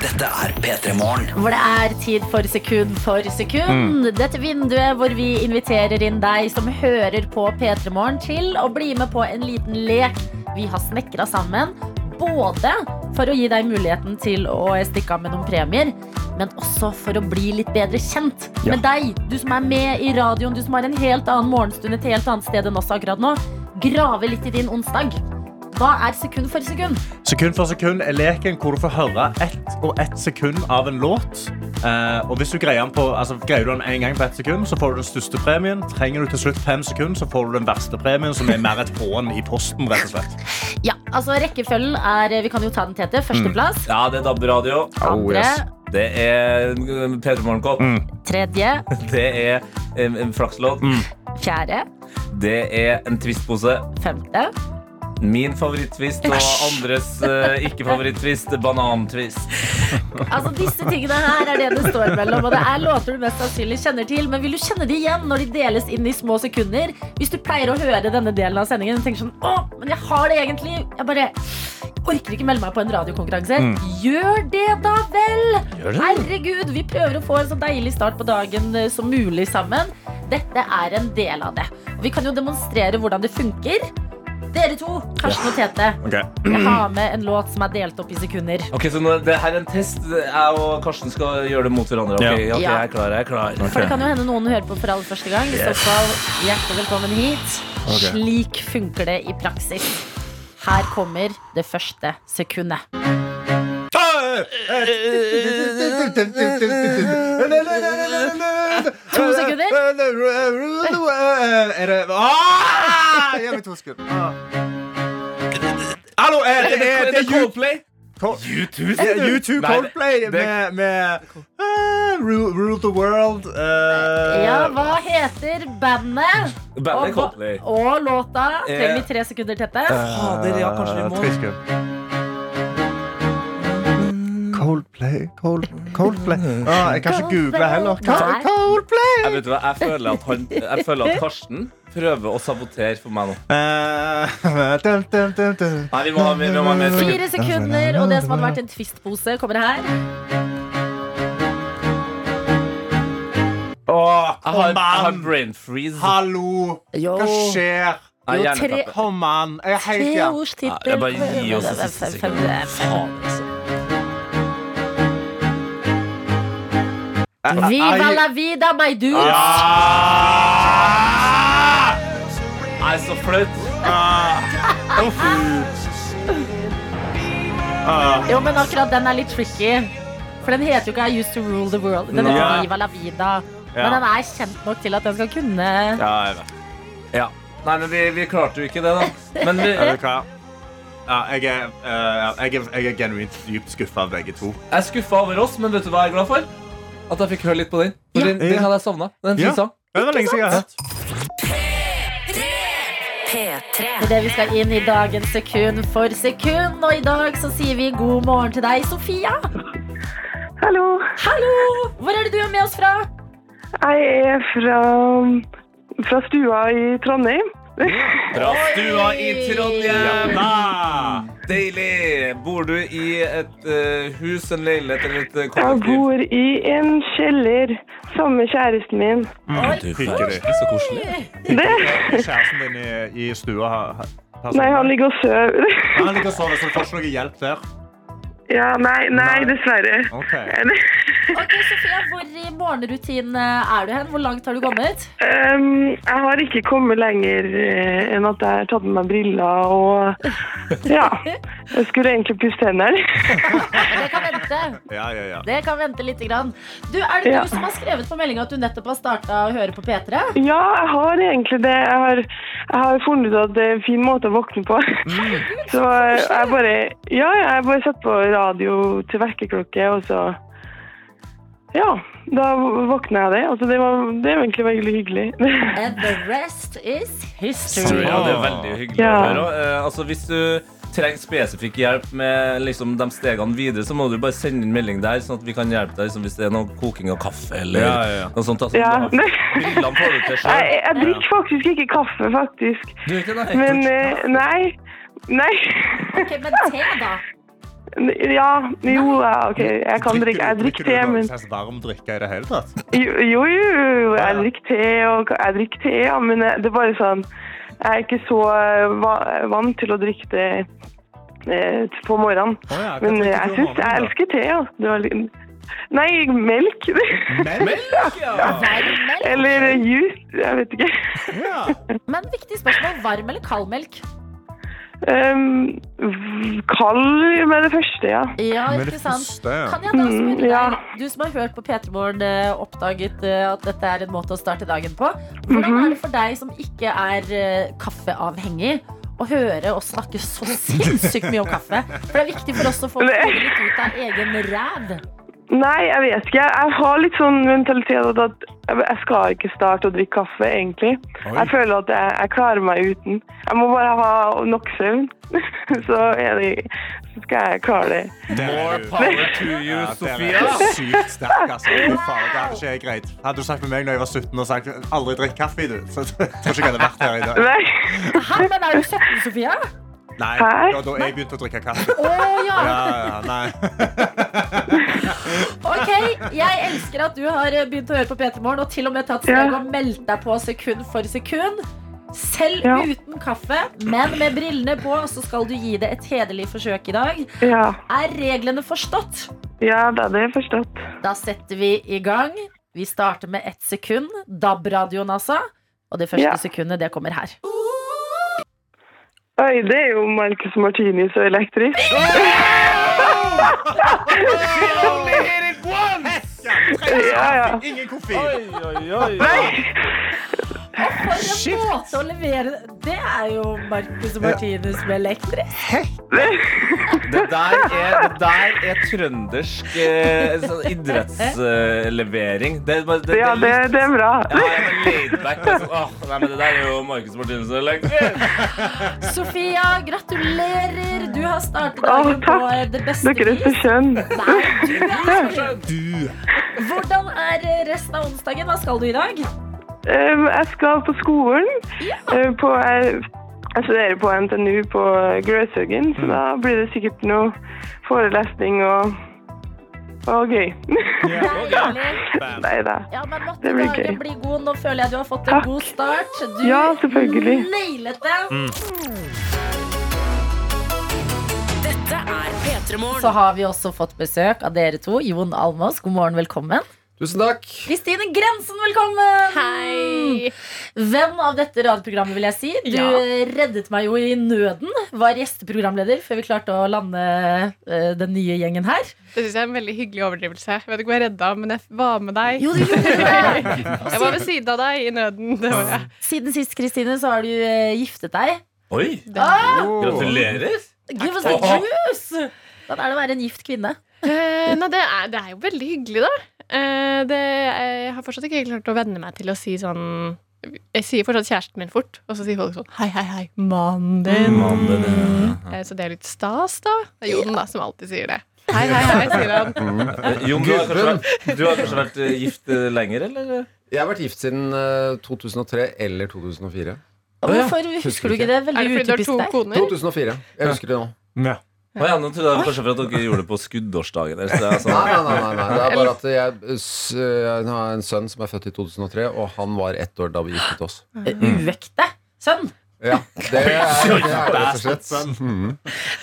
G: Dette er P3 Morgen.
B: Hvor det er tid for sekund for sekund. Dette vinduet hvor vi inviterer inn deg som hører på P3 Morgen, til å bli med på en liten lek vi har snekra sammen. Både for å gi deg muligheten til å stikke av med noen premier, men også for å bli litt bedre kjent med deg. Du som er med i radioen, du som har en helt annen morgenstund et helt annet sted enn oss akkurat nå. Grave litt i din onsdag. Hva er sekund for sekund?
C: Sekund for sekund er leken hvor du får høre ett og ett sekund av en låt. Eh, og hvis du greier, den på, altså, greier du den en gang på ett sekund, så får du den største premien. Trenger du til slutt fem sekunder, så får du den verste premien, som er mer et hån i posten. rett og slett.
B: Ja, altså Rekkefølgen er Vi kan jo ta den, Tete. Førsteplass.
D: Ja, det er DAB-radio.
B: Andre,
D: Det er eh, P3
C: Mm.
D: Morgenkopp.
B: tredje,
D: Det er en, en flakslodd.
B: fjerde,
D: Det er en twistpose.
B: femte.
D: Min favoritttvist og andres eh, ikke-favoritttvist. Banantvist.
B: Altså Disse tingene her er det det står mellom. Og det er låter du mest sannsynlig kjenner til. Men vil du kjenne de igjen når de deles inn i små sekunder? Hvis du pleier å høre denne delen av sendingen og tenker sånn Å, men jeg har det egentlig. Jeg bare orker ikke melde meg på en radiokonkurranse. Gjør det, da vel! Herregud, vi prøver å få en så deilig start på dagen eh, som mulig sammen. Dette er en del av det. Og vi kan jo demonstrere hvordan det funker. Dere to, Karsten og Tete. Jeg
D: Mm.
B: har med en låt som er delt opp i sekunder.
D: Ok, så nå, det her er en test. Jeg og Karsten skal gjøre det mot hverandre. Ok,
C: Ja.
D: ok,
B: Ja.
D: jeg er klar, jeg er klar.
B: For det kan jo hende noen hører på for aller første gang. I så fall, hjertelig velkommen hit. Slik funker det i praksis. Her kommer det første sekundet.
C: To
B: sekunder.
C: Er det ah! Gi meg to sekunder. Ah. Hallo, er det, det,
D: Er
C: det
D: det
C: er
D: Coldplay?
C: YouTube, YouTube
D: Nei, det-
C: Coldplay
D: det-
C: med, med ah, rule, rule the World. eh,
B: Ja, hva heter bandet?
D: Bandet
B: Og,
D: Coldplay.
B: og låta? Trenger vi tre sekunder, Tette?
C: Eh.
D: Fader, ja, kanskje vi må
C: Tre sekunder. Coldplay, cold, Coldplay ah, Jeg kan ikke google heller.
B: Nei.
C: Coldplay
D: Jeg, vet du hva, jeg, føler at han, jeg føler at Karsten prøver å sabotere for meg nå.
C: Eh, dun, dun, dun, dun.
D: Nei, vi må ha mer. Vi må ha mer.
B: Fire sekunder, og det som hadde vært en twistpose, kommer her.
C: Åh,
D: Jeg har,
C: kom
D: jeg har
C: an!
D: brain freeze.
C: Hallo!
B: Jo.
C: Hva skjer?
D: Jeg er
B: Jo,
D: hjernetappe.
B: tre-
C: Kom an! Jeg er helt
B: Tre
C: ja.
B: ords
D: Ja, det er
B: tittel.
D: bare å gi oss det siste sekundet. Faen, altså.
B: Viva la vida, my dude!
C: Ah!
D: Nei, så flaut.
C: Uff.
B: Jo, men akkurat den er litt tricky. For den heter jo ikke I used to rule the world. Den heter
C: Ja.
B: Viva la vida.
C: Ja.
B: Men den er kjent nok til at den skal kunne
C: Ja, jeg vet.
D: Ja. Nei, men vi, vi klarte jo ikke det, da. Men vi,
C: Vet du hva? Ja, jeg, er, eh, ja, jeg, er, jeg er genuint dypt skuffa av begge to.
D: jeg er skuffa over oss, men vet du hva jeg er glad for? At jeg fikk høre litt på den. For den, den hadde jeg savna. Det er en fin
C: Ja.
D: sang.
C: Det var lenge siden jeg har hørt.
A: P3.
B: Det er det vi skal inn i dagens sekund for sekund. Og i dag så sier vi god morgen til deg, Sofia.
F: Hallo.
B: Hallo! Hvor er det du er med oss fra?
F: Jeg er fra, fra stua i Trondheim.
D: Bra stua i Trondheim.
C: Da.
D: Deilig! Bor du i et eh, hus, en leilighet eller et eh,
F: Jeg
D: kollektiv?
F: bor i en kjeller sammen med kjæresten min.
D: Du,
C: Hyggelig.
D: Så koselig.
F: Det?
C: Kjæresten din i, i stua har har-
F: Nei, han ligger og sover.
C: Han ligger og sover, så du får ikke noe hjelp der.
F: Ja, nei, nei, dessverre.
C: Ok.
B: Ok, Sofia, Hvor i morgenrutinen eh, er du hen? Hvor langt har du kommet?
F: Ehm, jeg har ikke kommet lenger eh, enn at jeg har tatt med meg briller og Ja. Jeg skulle egentlig pusse tennene.
B: Det kan vente.
C: Ja, ja, ja.
B: Det kan vente litt. Grann. Du, er det
F: Ja.
B: du som har skrevet på meldinga at du nettopp har starta å høre på P3?
F: Ja, jeg har egentlig det. Jeg har, jeg har funnet ut at det er en fin måte å våkne på. Så jeg jeg bare Ja, jeg bare setter på radio til vekkerklokke, og så Ja. Da våkner jeg av det. Altså, det, var, det er egentlig veldig hyggelig.
B: And the rest is
D: Tror
B: history.
D: jeg. Ja, det er veldig hyggelig
F: Ja.
D: å høre. Eh, altså, hvis du trenger spesifikk hjelp med liksom, de stegene videre, så må du bare sende inn melding der, sånn at vi kan hjelpe deg liksom, hvis det er noe koking av kaffe eller
C: Ja, ja, ja.
D: noe sånt. Altså,
F: Ja.
D: da- Brillene får du til
F: Jeg,
D: selv.
F: jeg drikker faktisk ikke kaffe, faktisk.
D: Du er ikke det?
F: Men eh, nei. Nei.
B: Ok, men te, da.
F: Ja, jo, ja, OK. Jeg kan drikke. Jeg drikker te, men
C: slags altså, varm drikke i det hele tatt?
F: Jo, jo, jo. Jeg drikker te, og jeg drikker te, ja, men eh, det er bare sånn Jeg er ikke så eh, va- vant til å drikke det eh, på morgenen.
C: Å ja, hva
F: Men eh,
C: drikker du om
F: jeg syns jeg
C: morgenen,
F: elsker te, ja. Det var litt- Nei, melk.
C: da? Melk? Ja.
B: Varm melk?
F: Eller juice. Jeg vet ikke.
C: Ja.
B: Men viktig spørsmål. Varm eller kald melk?
F: Um, v- kald med det første, ja.
B: Ja,
C: Men
B: ikke
C: det
B: sant?
C: første, ja.
B: Kan jeg da
F: Mm,
B: spørre
F: ja.
B: deg, du som har hørt på P3 Morgen, eh, oppdaget eh, at dette er en måte å starte dagen på. Hvordan
F: Mhm.
B: er det for deg som ikke er eh, kaffeavhengig, å høre oss snakke så sinnssykt mye om kaffe? For det er viktig for oss å få
F: Det-
B: litt ut av egen ræv.
F: Nei, jeg vet ikke. Jeg, jeg har litt sånn mentalitet at jeg jeg skal ikke starte å drikke kaffe, egentlig. Jeg føler at jeg, jeg klarer meg uten. Jeg må bare ha nok søvn, så, er det, så skal jeg klare det.
C: More
D: Power to you, Sofia.
C: Sykt sterk, altså. Fy faen, det hadde ikke jeg greit. Hadde du sagt med meg da jeg var 17 og sagt 'aldri drikk kaffe', du, så tror jeg ikke jeg hadde vært her i dag.
F: Nei,
B: Hæ, men er du 17, Sofia?
C: Nei,
F: Hæ?
C: da, da jeg begynte å drikke kaffe.
B: Å ja.
C: Ja, ja, nei.
B: Ok, jeg elsker at du har eh, begynt å høre på P3 Morgen og til og med tatt
F: Ja.
B: steg og meldt deg på sekund for sekund. Selv
F: Ja.
B: uten kaffe, men med brillene på, så skal du gi det et hederlig forsøk i dag.
F: ja,
B: Er reglene forstått?
F: ja da, det er forstått.
B: Da setter vi i gang. Vi starter med ett sekund. DAB-radioen, altså. Og det første
F: Ja.
B: sekundet, det kommer her.
F: Oi, det er jo Marcus Martinus og elektrisk. Ja, ja.
C: Ingen koffein.
D: Oi, oi, oi.
B: For en måte å levere Det er jo Marcus Martinus med elektrisk.
D: Det der er, det der er trøndersk eh, sånn idrettslevering. Det, er bare- det,
F: Ja, det,
D: er litt-
F: det er bra.
D: Ja, jeg er laid back, altså. Åh, nei, men det der er jo Markus Martinsen elektrisk.
B: Sofia, gratulerer! Du har startet
F: Å,
B: dagen på
F: takk.
B: eh, det beste
F: Dere er så
B: vis.
F: skjønne.
B: Nei, du er så skjønn. Hvordan er resten av onsdagen? Hva skal du i dag?
F: Um, Jeg skal på skolen. Uh, På, jeg, jeg studerer på NTNU på Grøshaugen,
H: Mm.
F: så da blir det sikkert noe forelesning og, og gøy.
B: Deilig.
F: Nei da.
B: Ja, men måtte
F: Det blir
B: dagen
F: gøy.
B: bli god. Nå føler jeg du har fått en
F: Takk.
B: god start. Du
F: Ja, selvfølgelig.
B: nailet det.
I: Mm.
A: Dette er P3
B: Så
A: Morgen.
B: har vi også fått besøk av dere to. Jon Almås, god morgen, velkommen.
I: Tusen takk.
B: Kristine Grensen, velkommen!
J: Hei!
B: Venn av dette radioprogrammet, vil jeg si. Du
J: Ja.
B: eh, reddet meg jo i nøden. Var gjesteprogramleder før vi klarte å lande eh, den nye gjengen her.
J: Det syns jeg er en veldig hyggelig overdrivelse. Jeg vet ikke hva jeg redda, men jeg var med deg.
B: Jo, du gjorde det!
J: Jeg var ved siden av deg i nøden. Det var jeg.
B: Siden sist, Kristine, så har du eh, giftet deg.
D: Oi,
B: Ah,
D: gratulerer.
B: give us a juice! Hvordan er det å være en gift kvinne?
J: Eh, nei, det er, det er jo veldig hyggelig, da. Eh, det, jeg har fortsatt ikke klart å venne meg til å si sånn Jeg sier fortsatt kjæresten min fort, og så sier folk sånn hei, hei, hei, mannen din.
I: Mm.
J: Eh, så det er litt stas, da. Det er Jon da, som alltid sier det. Hei, hei, hei, sier han.
D: Eh, Jon, du har kanskje vært, du har kanskje vært eh, gift eh, lenger, eller?
I: Jeg har vært gift siden eh, 2003 eller 2004.
B: Og
D: Å, ja.
B: Hvorfor husker du ikke det?
J: Er det
B: Veldig
J: fordi du har
B: utypisk
J: to
B: deg.
J: koner?
I: 2004. Jeg husker det nå.
C: Ja.
D: Å ja, nå trodde jeg kanskje for at dere gjorde det på skuddårsdagen. eller så det er
I: Nei,
D: sånn-
I: nei, nei, nei, nei. Det er bare at jeg, s- eh, jeg har en sønn som er født i 2003, og han var ett år da vi giftet oss. Mm.
B: Uekte sønn.
I: Ja, det er, det er rett og slett.
C: sånn.
I: Mhm.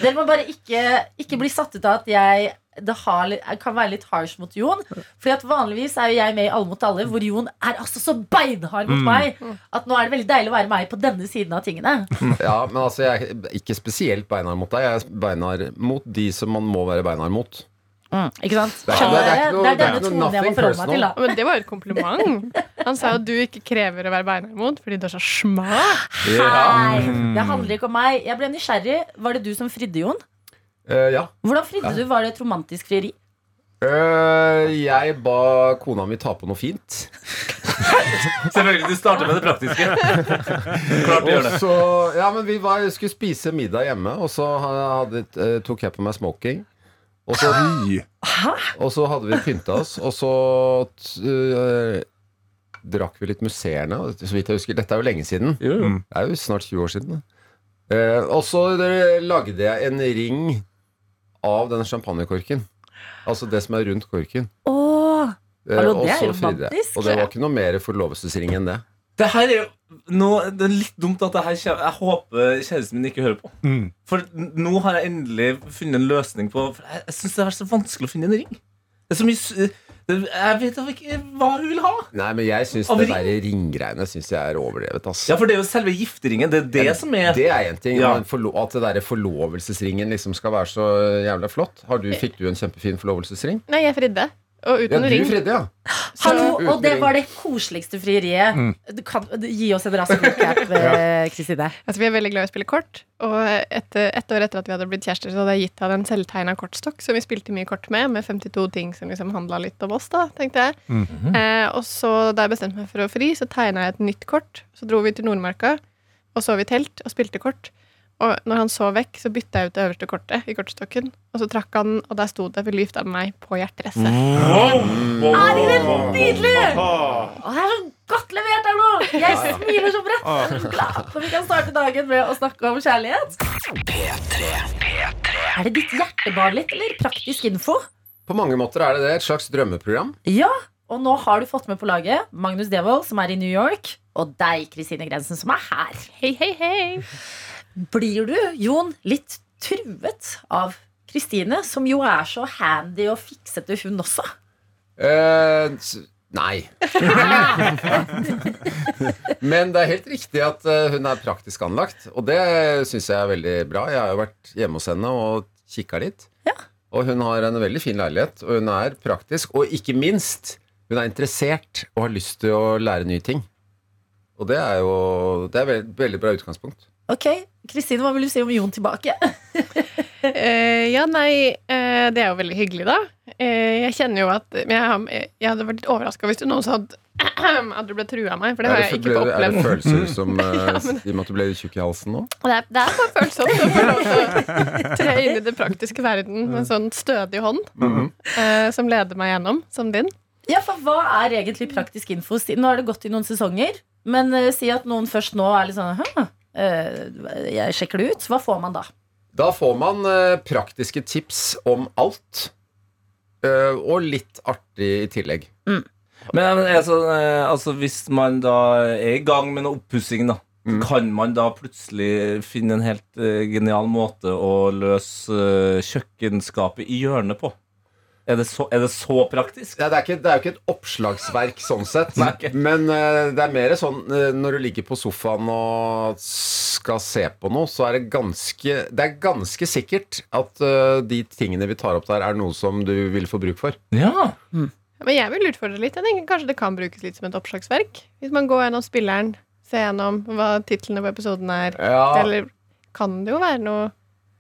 B: Dere må bare ikke, ikke bli satt ut av at jeg det har, litt- jeg kan være litt harsh mot Jon. Fordi at Vanligvis er jo jeg med i Alle mot alle, hvor Jon er altså så beinhard
I: Mm.
B: mot meg at nå er det veldig deilig å være meg på denne siden av tingene.
I: Ja, men altså, jeg er ikke spesielt beinhard mot deg. Jeg er beinhard mot de som man må være beinhard mot.
B: Ikke sant?
I: Mm. Det er-
B: Skjønner
I: det er
B: dere?
I: ikke noe- det
B: Det er
I: er
B: denne
I: ikke noe
B: tonen jeg må
I: nothing
B: forholde meg til.
I: personal.
B: da
J: Men det var jo et kompliment. Han sa jo at du ikke krever å være beinhard mot fordi du er så smak.
B: Hei. Det
I: Mm.
B: handler ikke om meg. Jeg ble nysgjerrig. Var det du som fridde, Jon?
I: Eh, ja.
B: Hvordan fridde du? Var det et romantisk frieri?
I: Eh, jeg ba kona mi ta på noe fint.
D: Selvfølgelig, du starter med det praktiske. Klart du gjør det.
I: Og så, ja, men vi var, skulle spise middag hjemme, og så hadde, eh, tok jeg på meg smoking. Og så, og så hadde vi pynta oss, og så t- eh, drakk vi litt musserende. og Så vidt jeg husker, Dette er jo lenge siden. Det er jo snart 20 år siden. da. Eh, og så eh, lagde jeg en ring av den champagnekorken. Altså det som er rundt korken.
B: Åh,
I: Eh,
B: Hallo,
I: og
B: det er
I: så
B: jo
I: fridde jeg.
B: romantisk.
I: Og det var ikke noe mer forlovelsesring enn det.
D: Det her er jo nå, Det er litt dumt at det her kommer Jeg håper kjæresten min ikke hører på.
C: Mm.
D: For n- nå har jeg endelig funnet en løsning på For jeg, jeg syns det er så vanskelig å finne en ring. Det er så mye s- det, Jeg vet da ikke hva hun vil ha.
I: Nei, men jeg syns
D: Av
I: det
D: ring?
I: der ringgreiene synes jeg er overdrevet. ass.
D: Ja, for det er jo selve gifteringen. Det er det som er
I: Det er en ting.
D: Ja.
I: men forlo- At det der forlovelsesringen liksom skal være så jævla flott. Har du, fikk du en kjempefin forlovelsesring?
J: Nei, jeg fridde. Og
I: Ja,
J: uten
I: du
J: ring.
I: fridde, ja.
B: Hallo,
I: Uten
B: og det
I: ring.
B: var det koseligste frieriet. Du kan, du, gi oss en rask recap, eh, Kristine.
J: Altså, vi er veldig glad i å spille kort, og et, et år etter at vi hadde blitt kjærester, så hadde jeg gitt han en selvtegna kortstokk som vi spilte mye kort med, med 52 ting som liksom handla litt om oss, da, tenkte jeg. eh, og så da jeg bestemte meg for å fri, så tegna jeg et nytt kort. Så dro vi til Nordmarka og sov i telt og spilte kort. Og når han så vekk, så bytta jeg ut det øverste kortet i kortstokken, og så trakk han, og der sto det 'Vil du gifte deg med meg?' på hjerteresset.
B: Er ikke det nydelig? Å, det er så godt levert her nå! Jeg smiler så bredt. Jeg er så glad for vi kan starte dagen med å snakke om kjærlighet. Er det ditt hjertebarn litt, eller praktisk info?
I: På mange måter er det det. Et slags drømmeprogram.
B: Ja, og nå har du fått med på laget Magnus Devold, som er i New York, og deg, Kristine Grensen, som er her.
J: Hei, hei, hei!
B: Blir du, Jon, litt truet av Kristine, som jo er så handy og fiksete, hun også?
I: Eh, s- nei. Men det er helt riktig at eh, hun er praktisk anlagt, og det syns jeg er veldig bra. Jeg har jo vært hjemme hos henne og kikka litt. Og hun har en veldig fin leilighet, og hun er praktisk. Og ikke minst, hun er interessert og har lyst til å lære nye ting. Og det er jo det er et veldig, veldig bra utgangspunkt.
B: Ok, Kristine, hva vil du si om Jon tilbake?
J: Eh, ja, nei, eh, det er jo veldig hyggelig, da. Eh, jeg kjenner jo at men jeg, har- jeg hadde vært litt overraska hvis du noen sa at, at du ble trua av meg, for det har
I: er,
J: jeg
I: det,
J: ikke fått
I: ble- er det
J: opplevd.
I: følelser som eh, I og med at du ble tjukk i halsen nå?
J: Og Det er, det er bare følsomt å få lov til å tre inn i den praktiske verden med en sånn stødig hånd eh, som leder meg gjennom, som din.
B: Ja, for hva er egentlig praktisk info? Si- Nå har det gått i noen sesonger, men eh, si at noen først nå er litt sånn Hæ, eh, jeg sjekker det ut. Hva får man da?
I: Da får man eh, praktiske tips om alt. Eh, og litt artig i tillegg.
D: Men altså, eh, altså, hvis man da er i gang med noe oppussing, da, kan man da plutselig finne en helt eh, genial måte å løse eh, kjøkkenskapet i hjørnet på? Er det så, er det så praktisk?
I: Ja, det, er ikke, det er jo ikke et oppslagsverk sånn sett.
D: Nei, ok.
I: Men eh, det er mer sånn eh, når du ligger på sofaen og skal se på noe, så er det ganske Det er ganske sikkert at eh, de tingene vi tar opp der, er noe som du vil få bruk for.
D: Ja.
J: Men jeg vil utfordre litt. Jeg tenker Kanskje det kan brukes litt som et oppslagsverk? Hvis man går gjennom spilleren, ser gjennom hva titlene på episoden er.
I: Ja,
J: Eller kan det jo være noe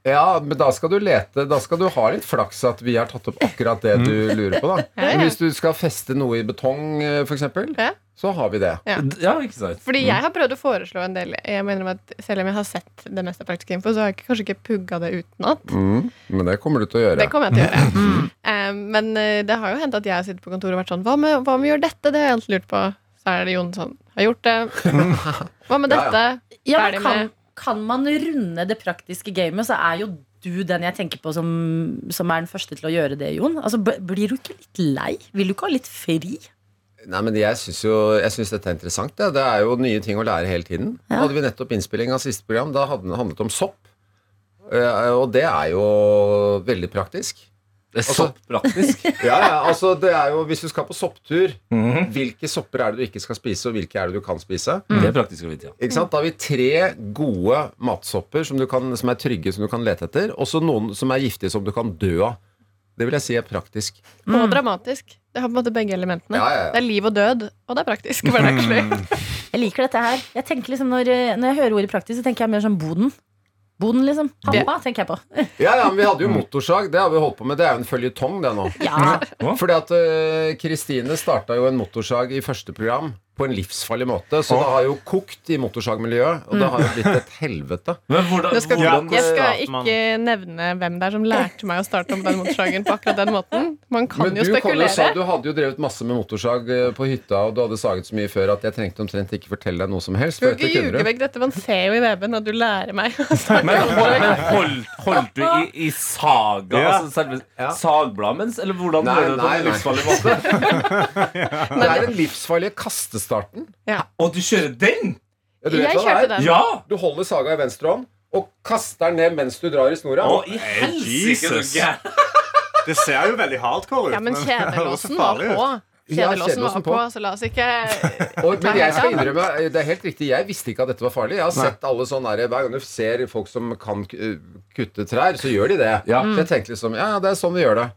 I: ja, men da skal du lete Da skal du ha litt flaks at vi har tatt opp akkurat det du lurer på, da.
J: Ja, ja.
I: Men Hvis du skal feste noe i betong, eh, for eksempel,
J: Ja.
I: så har vi det.
D: D- Ja, ikke sant? Mm.
J: Fordi
I: Mm.
J: jeg har prøvd å foreslå en del. Jeg mener at Selv om jeg har sett det meste av praktisk info, så har jeg ikke- kanskje ikke pugga det utenat.
I: Mm, men Mm. det kommer du til å gjøre.
J: Det kommer jeg til å gjøre. Eh, men eh, det har jo hendt at jeg har sittet på kontoret og vært sånn Hva med, hva med å gjøre dette? Det har jeg alltid lurt på. Så er det Jon sånn Har gjort det. Hva
I: Ja, ja.
J: med dette?
B: Ja, men
J: Ferdig
B: kan,
J: med-
B: kan man runde det praktiske gamet, så er jo du den jeg tenker på som, som er den første til å gjøre det, Jon? Altså, b- blir du ikke litt lei? Vil du ikke ha litt fri?
I: Nei, men jeg syns jo jeg synes dette er interessant. Det. det er jo nye ting å lære hele tiden. Hadde vi nettopp innspilling av siste program, da hadde det handlet om sopp. Eh, Og det er jo veldig praktisk.
D: Det er så praktisk.
I: Ja, ja, altså det er jo Hvis du skal på sopptur,
D: Mhm.
I: hvilke sopper er det du ikke skal spise, og hvilke er det du kan spise?
J: Mm.
D: Det er praktisk å vite, ja.
I: Ikke sant? Da har vi tre gode matsopper som, du kan, som er trygge, som du kan lete etter. Og så noen som er giftige, som du kan dø av. Det vil jeg si er praktisk.
J: Og dramatisk. Det har på en måte begge elementene.
I: Ja, ja, Mm. ja.
J: Det er liv og død, og det er praktisk. hverdagslig.
B: Jeg liker dette her. Jeg tenker liksom Når, når jeg hører ordet praktisk, så tenker jeg mer sånn boden. Boden, liksom. Hampa, tenker jeg på.
I: Ja, ja, men Vi hadde jo motorsag. Det har vi holdt på med. Det er jo en føljetong, det nå.
B: Ja.
I: Fordi at øh, Kristine starta jo en motorsag i første program på en livsfarlig måte. Så det har jo kokt i motorsagmiljøet, og det har jo blitt et helvete.
D: Men hvordan,
J: Jeg skal,
D: hvordan
J: jeg skal
C: man-
J: ikke nevne hvem det er som lærte meg å starte om den motorsagen på akkurat den måten. Man kan
I: Men
J: jo
I: du, kom jo og sa,
J: spekulere.
I: du hadde jo drevet masse med motorsag øh, på hytta, og du hadde saget så mye før at jeg trengte omtrent ikke fortelle deg noe som helst.
J: Du
I: For
J: kan
I: dette
J: ikke ljuge
I: kunne du.
J: vekk dette. Man ser jo E i weben at du lærer meg å starte
D: Men,
J: om
D: hold,
J: motorsag.
D: men hold, holdt du i, i saga?
C: Ja.
D: Altså selve sagbladet mens? Eller hvordan
I: Nei,
D: gjør du det på
I: nei,
D: en
I: nei.
D: livsfarlig måte?
I: Det er den livsfarlige kastestarten.
D: Og du kjører den?
I: Ja, du vet
J: Jeg
I: hva det er.
J: kjørte den.
D: Ja!
I: Du holder saga i venstre hånd og kaster den ned mens du drar i snora.
D: Å, i
C: Jesus.
D: helsike, du gæren.
C: Det ser jo veldig hardcore ut.
J: Ja, men
C: det høres
J: kjedelåsen var
C: farlig ut.
J: på.
I: Ja,
J: Kjedelåsen
I: kjedelåsen
J: var på,
I: på.
J: så la oss ikke
I: Og, men jeg skal
J: Ja.
I: innrømme, det er helt riktig, jeg visste ikke at dette var farlig. Jeg har sett alle sånne der, Hver gang du ser folk som kan k- eh, kutte trær, så gjør de det. Så jeg tenkte liksom, ja, det er sånn vi gjør det.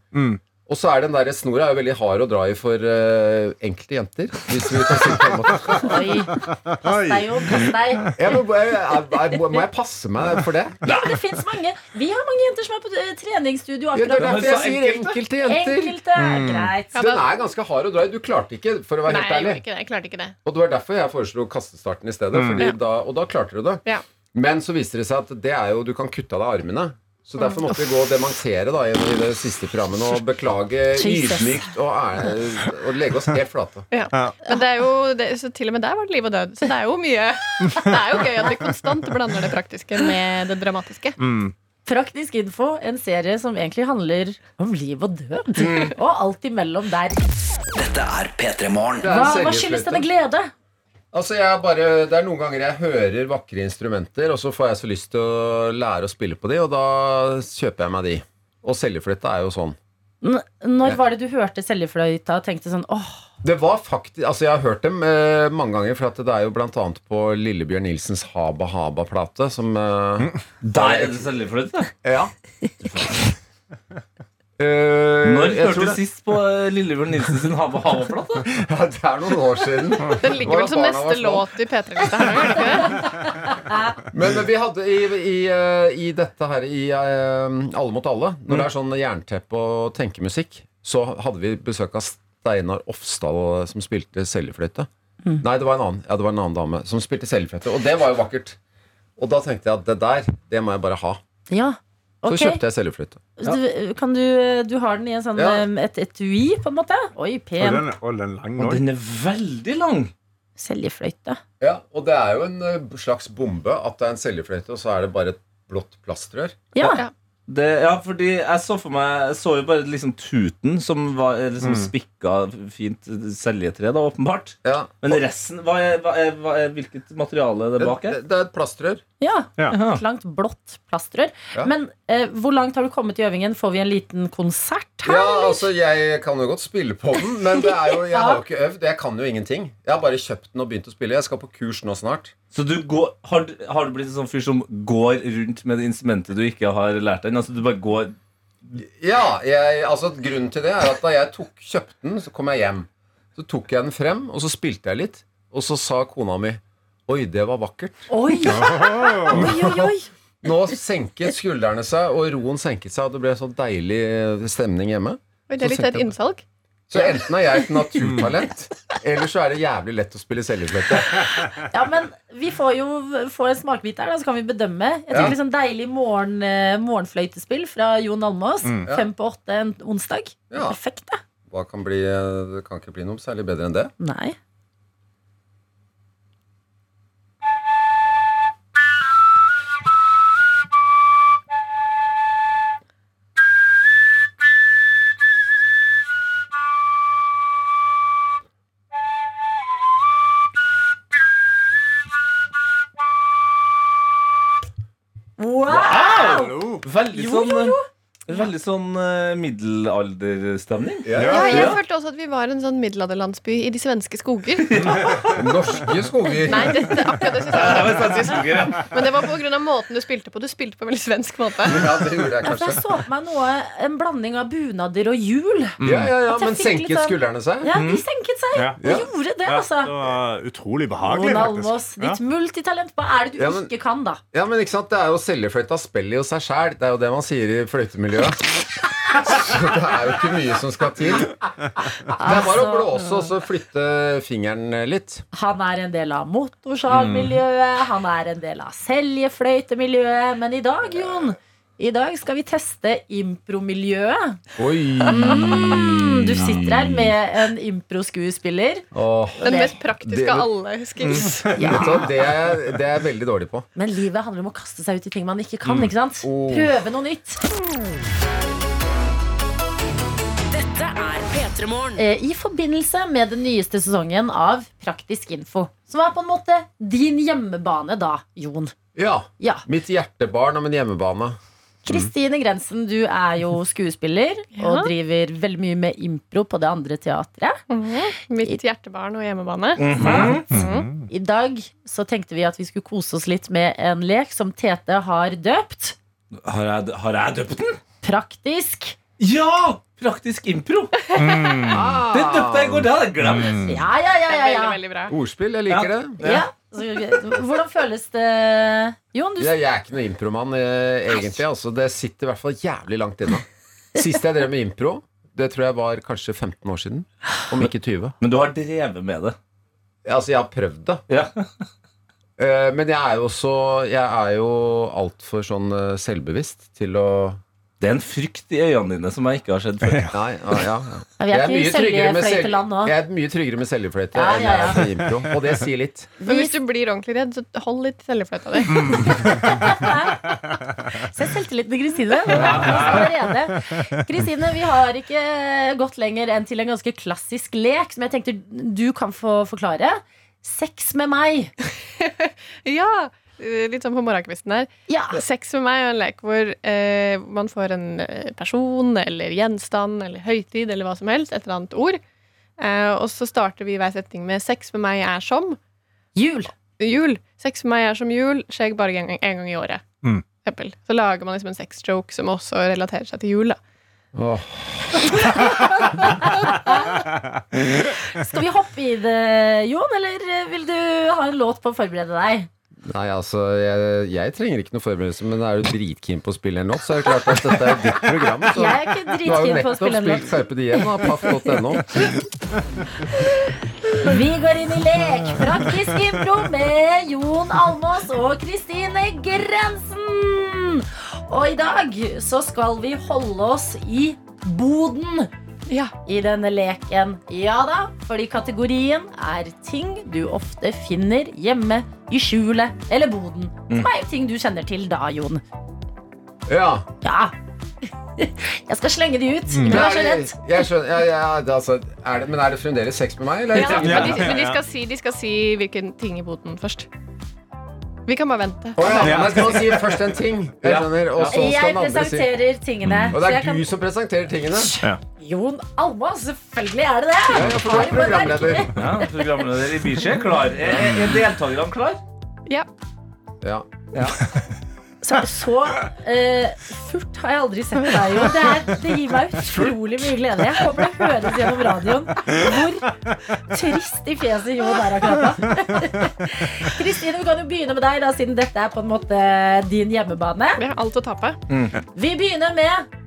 I: Og så er den der snora er jo veldig hard å dra i for eh, enkelte jenter. Hvis vi kan si det på en måte.
B: Oi. Pass deg, Jon. Pass deg.
I: Jeg må, jeg, jeg, jeg, eh, må jeg passe meg for det?
B: Ja, men det fins mange. Vi har mange jenter som er på eh, treningsstudio
I: Ja, det er
B: akkurat nå.
I: derfor jeg sier enkelte jenter.
B: Enkelte er greit.
I: Den er ganske hard å dra i. Du klarte ikke, for å være
J: Nei,
I: helt
J: jeg
I: ærlig.
J: gjorde ikke det. Jeg klarte ikke det.
I: Og det var derfor jeg foreslo kastestarten i stedet.
B: Mm.
I: Fordi
J: Ja.
I: da, og da klarte du det.
J: Ja.
I: Men så viste det seg at det er jo, du kan kutte av deg armene.
B: Mm.
I: Så derfor måtte vi gå og dementere da, i i det siste programmet og beklage
B: Jesus.
I: ydmykt og, ære- og legge oss helt flate.
J: Ja. Men det er jo, det, så til og med der var det liv og død. Så det er jo mye Det er jo gøy at vi konstant blander det praktiske med det dramatiske.
B: Praktisk info, en serie som egentlig handler om liv og død.
I: Mm.
B: Og alt imellom der.
G: Dette er P3 Morgen.
I: Det er
B: Hva,
I: en
B: hva skyldes
I: seigfløyte.
B: denne glede?
I: Altså jeg er bare, Det er noen ganger jeg hører vakre instrumenter, og så får jeg så lyst til å lære å spille på de, og da kjøper jeg meg de. Og seljefløyte er jo sånn.
B: N når var det du hørte seljefløyta og tenkte sånn åh,
I: Det var faktisk, altså Jeg har hørt dem eh, mange ganger, for at det er jo bl.a. på Lillebjørn Nilsens Haba Haba-plate som eh,
D: Der er det selvfløyte.
I: Ja.
D: Når
I: Eh, jeg
D: hørte
I: tror
D: du
I: det,
D: sist på eh, Lillebjørn Nilsen sin Hava Hava-plate?
I: ja, det er noen år siden.
J: Den ligger vel som
I: Barna var
J: neste
I: små.
J: låt i P3-lista her nå, gjør den ikke det?
I: Men men vi hadde i, i, eh, i dette her, i eh, Alle mot alle, når det er sånn jernteppe og tenkemusikk, så hadde vi besøk av Steinar Ofsdal eh, som spilte seljefløyte. Nei, det var en annen Ja, det var en annen dame som spilte seljefløyte. Og det var jo vakkert. Og da tenkte jeg at det der, det må jeg bare ha.
B: ja.
I: Så
B: Ok,
I: kjøpte jeg seljefløyte.
B: du, kan du, du har den i en sånn,
I: Ja.
B: eh, et etui, på en måte? Oi,
C: Og
B: pen
C: den, og den lang
D: Og
C: nå.
D: den er veldig lang.
B: seljefløyte.
I: Ja, og det er jo en eh, slags bombe at det er en seljefløyte, og så er det bare et blått plastrør.
B: Ja.
J: Ja.
D: Det, ja, fordi jeg så for meg Jeg så jo bare liksom tuten som var eh, liksom spikka fint seljetre, da, åpenbart.
I: Ja.
D: Men resten hva er, hva er, hva er, Hvilket materiale er det bak her?
I: Det, det er et plastrør.
B: ja.
D: Ja.
B: Et langt blått plastrør.
I: Ja.
B: Men eh, hvor langt har du kommet i øvingen? Får vi en liten konsert her?
I: Ja, altså, jeg kan jo godt spille på den, men det er jo, jeg har jo ikke øvd. Jeg kan jo ingenting. Jeg har bare kjøpt den og begynt å spille. Jeg skal på kurs nå snart.
D: Så du går, har, du- har du blitt en sånn fyr som går rundt med det instrumentet du ikke har lært deg? Altså du bare går
I: Ja, jeg, altså Grunnen til det er at da jeg tok, kjøpte den, så kom jeg hjem. Så tok jeg den frem, og så spilte jeg litt. Og så sa kona mi Oi, det var vakkert.
B: Oi! oi, oi, oi.
I: Nå senket skuldrene seg, og roen senket seg, og det ble sånn deilig stemning hjemme.
J: Oi, Det er litt av et innsalg.
I: Så enten er jeg et naturtalent, eller så er det jævlig lett å spille seljefløyte.
B: Ja, men vi får jo få en smakebit der, da, så kan vi bedømme. Jeg tenker
I: Ja.
B: liksom Deilig morgen, eh, morgenfløytespill fra Jon Almås.
I: Mm. Ja.
B: Fem på åtte en onsdag.
I: Ja.
B: Perfekt, det.
I: Hva kan bli, eh, det kan ikke bli noe særlig bedre enn det.
B: Nei. Wow!
D: Veldig
B: Jo,
D: sånn, eh, Veldig sånn eh, middelalderstemning.
J: Ja,
C: Ja.
J: jeg følte også at vi var en sånn middelalderlandsby i de svenske skoger.
I: Norske skoger.
J: Nei, dette, akkurat det synes jeg
D: Det var svenske skoger, ja.
J: Men det var pga. måten du spilte på. Du spilte på en veldig svensk måte.
I: Ja, det gjorde jeg
B: For jeg
I: kanskje.
B: så på meg noe, en blanding av bunader og hjul.
I: Ja, ja, ja, Men
B: At jeg fikk litt
I: senket
B: sånn-
I: skuldrene seg?
B: Ja, de senket seg.
C: Ja.
B: De gjorde det,
C: Ja,
B: altså.
C: det var utrolig behagelig,
B: Jon Almås,
C: faktisk.
B: ditt multitalent. Hva er det du
I: Ja, men-
B: ikke kan, da?
I: Ja, men ikke sant, Det er jo seljefløyta spiller jo seg sjæl. Det er jo det man sier i fløytemiljøet. Så det er jo ikke mye som skal til. Det er bare å
B: Altså-
I: blåse og så flytte fingeren litt.
B: Han er en del av
I: Mm.
B: motorsagmiljøet, han er en del av seljefløytemiljøet. Men i dag, Jon, i dag skal vi teste impromiljøet.
I: Oi!
B: Mm, Du sitter her med en improskuespiller.
I: Åh.
J: Den mest
I: Det-
J: praktiske av alle skills.
I: Vet du hva, det, er, det er jeg veldig dårlig på.
B: Men livet handler om å kaste seg ut i ting man ikke kan. ikke sant?
I: Oh.
B: Prøve noe nytt.
A: Dette er P3 Morgen.
B: Eh, I forbindelse med den nyeste sesongen av Praktisk info, som var på en måte din hjemmebane da, Jon.
I: Ja.
B: Ja,
I: Mitt hjertebarn om en hjemmebane.
B: Kristine Grensen, du er jo skuespiller og
J: Ja.
B: driver veldig mye med impro på det andre teatret.
J: Mhm. Mitt hjertebarn og hjemmebane.
D: Mhm.
B: I dag så tenkte vi at vi skulle kose oss litt med en lek som Tete har døpt.
D: Har jeg, har jeg døpt den?
B: Praktisk.
D: Ja! Praktisk impro.
I: Ah.
D: Den døpte jeg i går. Det hadde jeg glemt.
C: Mm.
B: Ja, ja, ja,
J: Det er veldig,
B: ja, ja.
J: veldig bra.
I: Ordspill. Jeg liker
D: Ja.
I: det.
B: ja. Så, hvordan føles det, Jon? Du,
I: Jeg, jeg er ikke noen impromann, eh, egentlig. Altså, det sitter i hvert fall jævlig langt inne. Sist jeg drev med impro, det tror jeg var kanskje 15 år siden. Om ikke 20.
D: Men du har drevet med det.
I: Altså, jeg har prøvd det.
D: Ja.
I: Eh, Men jeg er jo så Jeg er jo altfor sånn eh, selvbevisst til å
D: Det er en frykt i øynene dine som jeg ikke har sett før.
I: Nei, ja, ja. ja.
B: vi er ikke i seljefløyteland nå.
I: jeg er mye tryggere med seljefløyte
B: Ja, ja, ja.
I: enn jeg er med impro. Og det sier litt.
J: Men hvis du blir ordentlig redd, så hold litt i cellefløyta di.
B: Se selvtilliten til Kristine. Den er på oss allerede. Kristine, vi har ikke gått lenger enn til en ganske klassisk lek som jeg tenkte du kan få forklare. Sex med meg.
J: Ja, eh, litt sånn på morgenkvisten her.
B: Ja.
J: Sex med meg er en lek hvor eh, man får en eh, person eller gjenstand eller høytid eller hva som helst, et eller annet ord. Eh, og så starter vi hver setning med 'sex med meg er som
B: Jul.
J: jul'. 'Sex med meg er som jul' skjer bare en gang, en gang i året.
C: Mm.
J: For eksempel. Så lager man liksom en sexjoke som også relaterer seg til jul. Da.
I: Åh.
B: Skal vi hoppe i det, Jon, eller vil du ha en låt på å forberede deg?
I: Nei, altså, jeg, jeg trenger ikke noe forberedelse, men er du dritkeen på å spille en låt, så er det klart at dette er ditt program. Så.
B: Jeg er ikke
I: Du har jo
B: dritkeen på å
I: nettopp
B: spille en
I: spilt
B: låt.
I: Carpe Diem og paff.no.
B: Vi går inn i lek. Praktisk impro med Jon Almås og Kristine Grensen. Og i dag så skal vi holde oss i boden.
J: Ja.
B: i denne leken. Ja da, fordi kategorien er ting du ofte finner hjemme i skjulet eller boden.
I: Mm.
B: Som er jo ting du kjenner til da, Jon.
I: Ja.
B: Ja. Jeg skal slenge de ut.
I: Mm.
B: Jeg er så redd.
I: Jeg skjønner, ja, ja, det, er altså, er det, men er det fremdeles sex med meg, eller?
J: Ja, men de, men de
C: ja.
J: skal si, de skal si hvilken ting i boten først. Vi kan bare vente.
I: Å ja, men skal man si først en ting, jeg
D: Ja.
I: skjønner, og så skal
B: Jeg
I: den andre si
B: presenterer tingene.
I: Og
B: så
I: det
B: jeg
I: er
B: kan-
I: du som presenterer tingene.
B: Jon Alma, selvfølgelig er det det!
I: Ja, ja, for du er
B: Har jo bare
I: programleder.
D: Ja, Programleder i Biche er klar. Er, er deltakerne klar?
J: Ja.
I: Ja.
B: Så, så eh, furt har jeg aldri sett deg, Jon. Det, er, det gir meg utrolig mye glede. Jeg håper det høres gjennom radioen hvor trist i fjeset Jon er akkurat nå. Kristine, vi kan jo begynne med deg, da, siden dette er på en måte din hjemmebane.
J: Vi har alt å tape.
B: Vi begynner med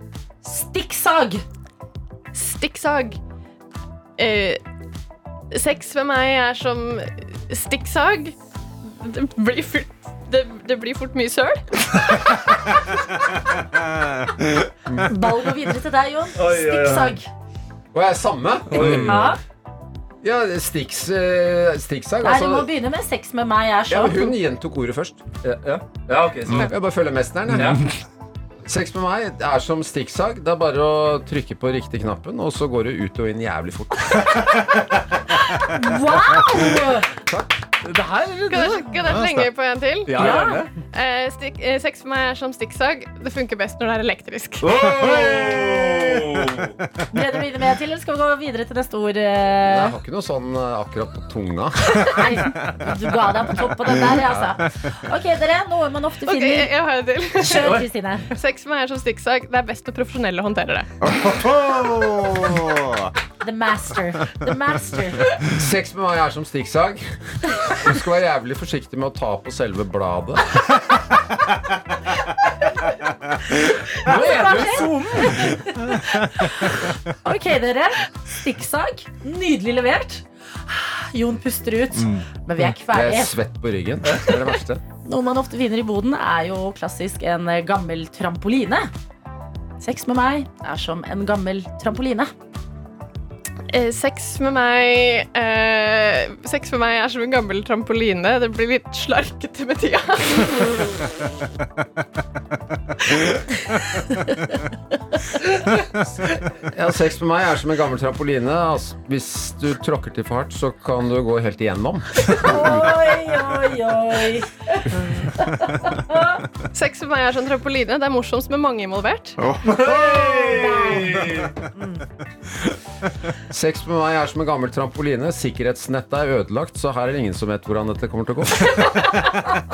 B: stikksag.
J: Stikksag. Eh, sex med meg er som stikksag. Det blir fort, det, det blir fort mye søl.
B: Ball går videre til deg, Jon. Stikksag.
I: Og jeg er samme.
B: Ja.
I: Ja, Stix eh, Stixag,
B: Nei, du må
I: altså.
B: begynne med sex med meg. Jeg er
I: Ja, men hun
B: sånn.
I: gjentok ordet først.
D: Ja, ja. ja ok. Så.
I: Jeg bare følger mesteren.
D: Ja.
I: jeg. Sex med meg det er som stikksag. Det er bare å trykke på riktig knappen, og så går det ut og inn jævlig fort.
B: Wow!
D: Det her er
J: Skal dere, skal dere slenge på en til?
D: Ja, gjerne.
J: Eh, stikk, eh, sex for meg er som stikksag. Det funker best når det er elektrisk.
D: Wow.
B: Ble det videre med til, eller skal vi gå videre til neste ord?
I: Jeg har
B: eh?
I: ikke noe sånn eh, akkurat på tunga.
B: Nei, du ga deg på topp på den der, altså. Ok, dere. Noe man ofte
J: Ok, jeg,
B: finner.
J: jeg har en til.
B: Kjør, Kristine.
J: Sex for meg er som stikksag. Det er best når profesjonelle håndterer det.
C: Ohoho!
B: The master. The master.
I: Sex med meg er som stikksag. Du skal være jævlig forsiktig med å ta på selve bladet. Nå er du
B: Ok, dere. Stikksag. Nydelig levert. Jon puster ut, men vi er ikke
I: Jeg
B: ferdige.
I: er svett på ryggen. Det er det verste.
B: Noe man ofte finner i boden, er jo klassisk en eh, gammel trampoline. Sex med meg er som en gammel trampoline.
J: Eh, sex med meg eh, Sex med meg er som en gammel trampoline. Det blir litt slarkete med tida.
I: Ja, sex med meg er som en gammel trampoline. Altså, hvis du tråkker til for hardt, så kan du gå helt igjennom.
B: Oi, oi, oi.
J: Sex med meg er som en trampoline. Det er morsomst med mange involvert.
I: Sex med meg er som en gammel trampoline. Sikkerhetsnettet er ødelagt, så her er det ingen som vet hvordan dette kommer til å gå.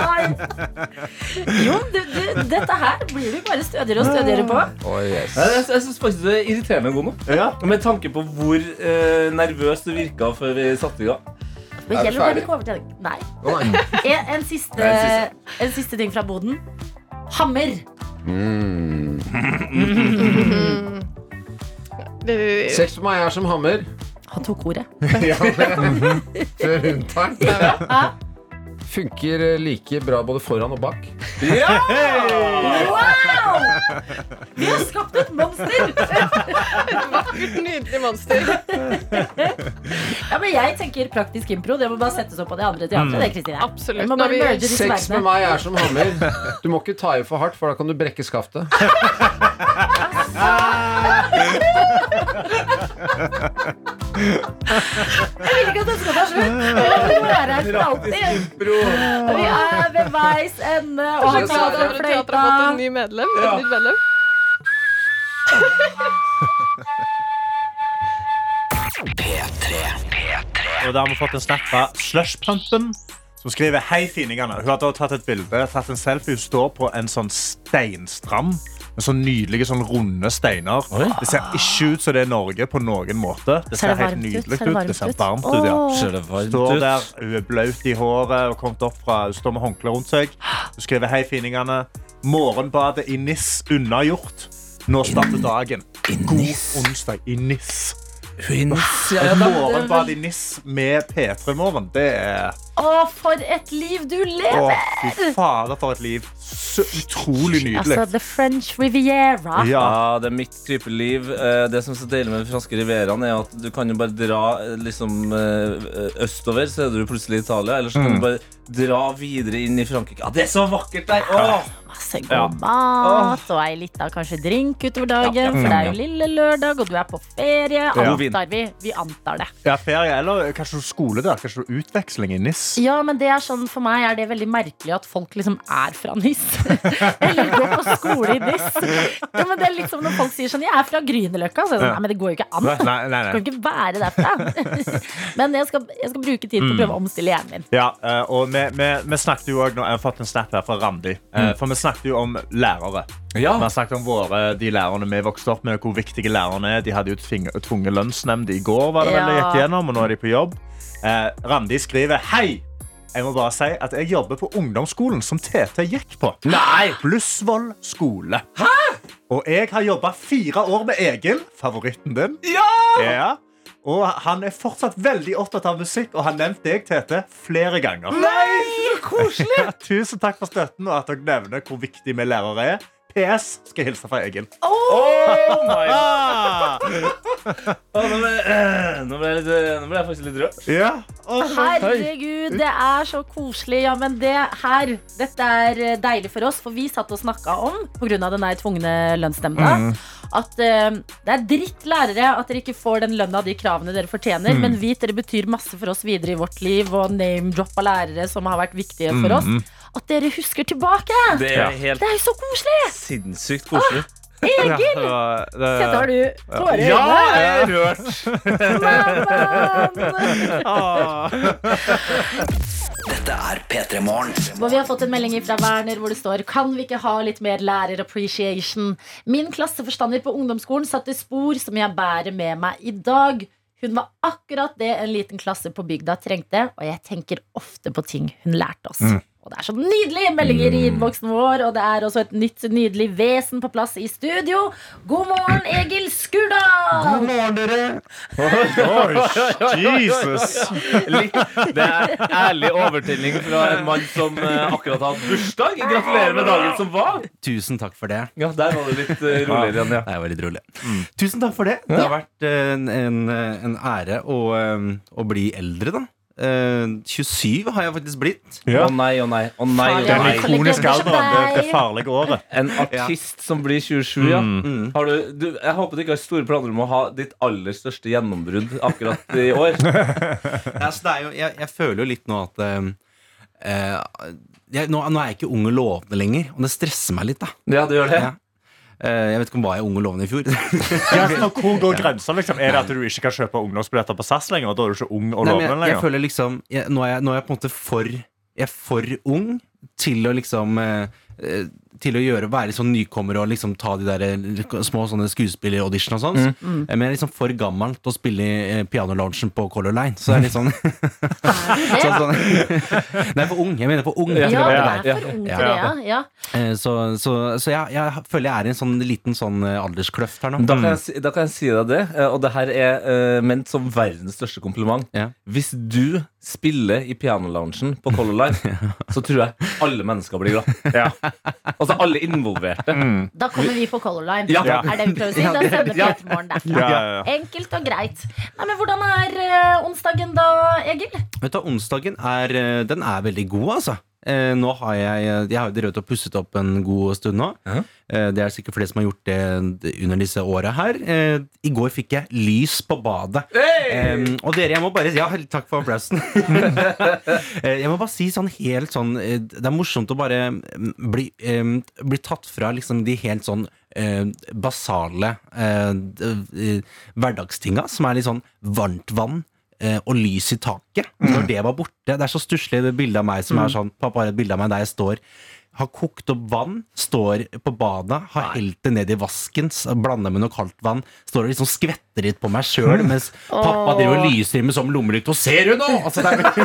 B: Ai. Jo, du, du, dette her blir vi bare stødigere og stødigere på.
I: Oh, yes.
D: Nei, Jeg, jeg syns faktisk du er irriterende god nå.
C: Ja.
D: Med tanke på hvor eh, nervøs du virka før vi satte i gang.
B: Men
I: Er vi
B: gjelder det bare
I: ferdig?
B: ikke over til deg? Nei. E,
I: Å, nei.
B: En, en, siste,
D: En
B: en siste ting fra boden. Hammer.
I: Mm.
J: Det,
I: Sex med meg er som hammer.
B: Han tok ordet.
I: Før hun tar den.
B: Ah.
I: Funker like bra både foran og bak.
D: Ja!
B: Wow! Vi har skapt et monster!
J: et vakkert, nydelig monster.
B: Ja, men jeg tenker praktisk impro. Det må bare settes opp av de andre teatrene. Det, Kristine. Vi
J: Absolutt.
B: må
J: Når
B: bare
J: vi,
B: merge disse
I: Sex med
B: verdenene.
I: meg er som hammer. Du må ikke ta i for hardt, for da kan du brekke skaftet.
B: Jeg vil ikke at det skal ta slutt. Vi må være her for alltid.
D: Bro.
B: Vi er ved veis ende. Og
J: Kanskje
B: han
J: glad
B: klarer
J: over at teatret
B: fløyta.
J: har fått en ny medlem.
D: Ja.
J: Et nytt medlem.
C: Og da har vi fått en snap fra Slushpumpen, som skriver Hei, finingene. Hun har da tatt et bilde, tatt en selfie. Hun står på en sånn steinstrand med sånn nydelige, sånn runde steiner. Det ser ikke ut som det er Norge på noen måte. Det
B: Ser det
C: ser helt
B: varmt ut?
C: nydelig
B: Ser det
C: ut. Det ser
B: varmt
C: varmt
B: ut?
C: ut, ja.
B: Åh.
D: Ser det varmt
C: Står der,
D: ut.
C: hun er blaut i håret og kommet opp fra, hun står med håndkle rundt seg. Hun skriver hei, finingene. Morgenbadet i NIS unnagjort. Nå starter dagen. God onsdag i NIS.
D: Prins, ja, ja,
C: Et
D: da-
C: morgenbad i NIS med P3 Morgen, det er
B: Å, for et liv du
C: Å,
B: lever!
C: fy fader, for et liv. Så utrolig nydelig.
B: Altså, The French Riviera.
C: Ja.
D: Ja, det er mitt type liv. Eh, Det som er så deilig med de franske rivieraen, er at du kan jo bare dra eh, liksom, eh, østover, så er du plutselig i Italia. Eller så kan
C: Mm.
D: du bare dra videre inn i Frankrike. Ja, det er så vakkert der! Åh!
B: Masse
D: Ja.
B: god mat og ei lita kanskje drink utover dagen,
D: Ja, ja,
B: for det er
D: ja.
B: jo lille lørdag, og du er på ferie.
C: Mm. God
D: vin.
B: Antar vi. Vi antar det.
C: ja, ferie eller kanskje skole der. Kanskje utveksling i NIS.
B: Ja, men det er sånn, For meg er det veldig merkelig at folk liksom er fra NIS. Eller går på skole i NIS. Ja, men det er liksom Når folk sier sånn 'Jeg er fra Grünerløkka', så er jeg sånn Nei, men det går jo ikke an.
C: Nei, nei, nei.
B: Du kan ikke være derfra. Men jeg skal, jeg skal bruke tid på å prøve å omstille hjernen min.
C: Ja, eh, og vi, vi, vi snakket jo også, nå, Jeg har fått en snap her fra Randi. eh,
D: Mm.
C: For vi snakket jo om lærere.
D: Ja.
C: Vi har snakket om våre, de lærerne vi vokste opp med, og hvor viktige lærerne er. De hadde jo tving- tvunget lønnsnemnd i går, var det vel det
B: Ja.
C: gikk gjennom, og nå er de på jobb. Eh, Randi skriver Hei! Jeg må bare si at jeg jobber på ungdomsskolen som TT gikk på.
D: Nei!
C: Blussvoll skole. Og jeg har jobba fire år med Egil, favoritten din.
D: Ja!
C: Ja. Og han er fortsatt veldig opptatt av musikk, og har nevnt deg, Tete, flere ganger.
D: Nei, så koselig!
C: Ja, tusen takk for støtten, og at dere nevner hvor viktig vi lærere er. PS skal hilse fra Egil.
D: Oh my
C: Ah!
D: Å, nå, ble, eh, nå, ble jeg litt, eh, nå ble jeg faktisk litt rørt.
C: Ja.
B: Herregud, det er så koselig. Ja, men det her Dette er eh, deilig for oss, for vi satt og snakka om, pga. den her tvungne lønnsnemnda,
D: Mm.
B: at eh, det er dritt lærere at dere ikke får den lønna og de kravene dere
D: Mm.
B: fortjener, men vit dere betyr masse for oss videre i vårt liv, og name-drop av lærere som har vært viktige for
D: Mm.
B: oss. At dere husker tilbake!
D: Det
C: Ja.
D: er helt
B: Det er jo så koselig!
D: sinnssykt koselig.
C: Ja, det var- det-
B: Kjente, har du tårer i
D: Ja,
B: øynene?
D: jeg er rørt.
B: Mammaen!
C: Ah.
G: Dette er P3 Morgen.
B: Og vi har fått en melding fra Werner hvor det står Kan vi ikke ha litt mer lærer appreciation? Min klasseforstander på ungdomsskolen satte spor som jeg bærer med meg i dag. Hun var akkurat det en liten klasse på bygda trengte, og jeg tenker ofte på ting hun lærte oss. Og det er så nydelige meldinger i innboksen vår, og det er også et nytt nydelig vesen på plass i studio. God morgen, Egil Skurdal!
C: morgen, dere. Oi, Jesus.
D: Litt, det er ærlig overtenning fra en mann som eh, akkurat har hatt bursdag. Gratulerer med dagen som var.
K: Tusen takk for det.
D: Ja, Der var det litt eh, roligere igjen, ja. Mm.
K: Det er veldig rolig. Tusen takk for det. Det har vært eh, en, en, en ære å, eh, å bli eldre, da. Eh, 27 har jeg faktisk blitt.
D: Å
C: Ja.
D: nei, å nei. å nei, å
C: Den
D: nei.
B: Farlig.
C: ikoniske alderen. Det, det farlige året.
D: En artist som blir 27, ja.
K: Mm.
D: Har du, du, jeg håper du ikke har store planer om å ha ditt aller største gjennombrudd akkurat i år.
K: Altså, det er jo, jeg, jeg føler jo litt nå at eh, eh, jeg, nå, nå er jeg ikke ung og lovende lenger, og det stresser meg litt, da.
D: Ja, du gjør det?
K: Ja. Eh, jeg vet ikke om var jeg ung og lovende i fjor.
C: Ja, så hvor går grensa? Liksom? Er det at du ikke kan kjøpe ungdomsbilletter på SAS lenger? og Da er du ikke ung og
K: Nei, men
C: lovende
K: jeg, jeg
C: lenger?
K: føler liksom jeg, nå, er jeg, nå er jeg på en måte for Jeg er for ung til å liksom eh, eh, Til å gjøre, være sånn nykommer og liksom ta de der eh, små sånne skuespillerauditioner og sånn.
C: Mm.
K: Eh, Men jeg er liksom for gammel til å spille i eh, pianoloungen på Color Line. Så det er litt sånn, sånn, sånn Nei, for ung. Jeg mener for ung.
B: Ja,
K: til å
B: sånn,
K: være der.
B: det er for ung til det, ja. ja.
K: Eh, Så, så, så jeg, jeg føler jeg er i en sånn liten sånn eh, alderskløft her nå.
D: Da kan, jeg, si- da kan jeg si deg det, eh, og det her er eh, ment som verdens største kompliment.
K: Ja.
D: Hvis du spiller i pianoloungen på Color Line, så tror jeg alle mennesker blir glad. Altså alle involverte.
B: Da kommer vi på Color Line.
D: Ja. Ja.
B: Er det vi prøver å si? Da sender
D: Ja.
B: Petermorgen derfra.
C: Ja, ja, ja.
B: Enkelt og greit. Nei, men Hvordan er eh, onsdagen da, Egil?
K: Vet du, Onsdagen er, eh, den er veldig god, altså. Eh, nå har jeg, jeg har jo drevet og pusset opp en god stund nå. Eh, det er sikkert flere som har gjort det under disse åra her. Eh, I går fikk jeg lys på badet. Eh, og dere, jeg må bare Ja, takk for applausen. Eh, jeg må bare si sånn helt sånn eh, Det er morsomt å bare mm, bli, eh, bli tatt fra liksom de helt sånn eh, basale eh, d- eh, hverdagstinga, som er litt sånn varmt vann eh, og lys i taket. Når det var borte. Det er så stusslig det bildet av meg som er sånn Pappa har et bilde av meg der jeg står. Har kokt opp vann, står på badet, har helt det ned i vasken, s- blander med noe kaldt vann. Står og liksom skvetter litt på meg sjøl, mens pappa driver og lyser i med sånn lommelykt. Og ser du nå?! Altså, det er,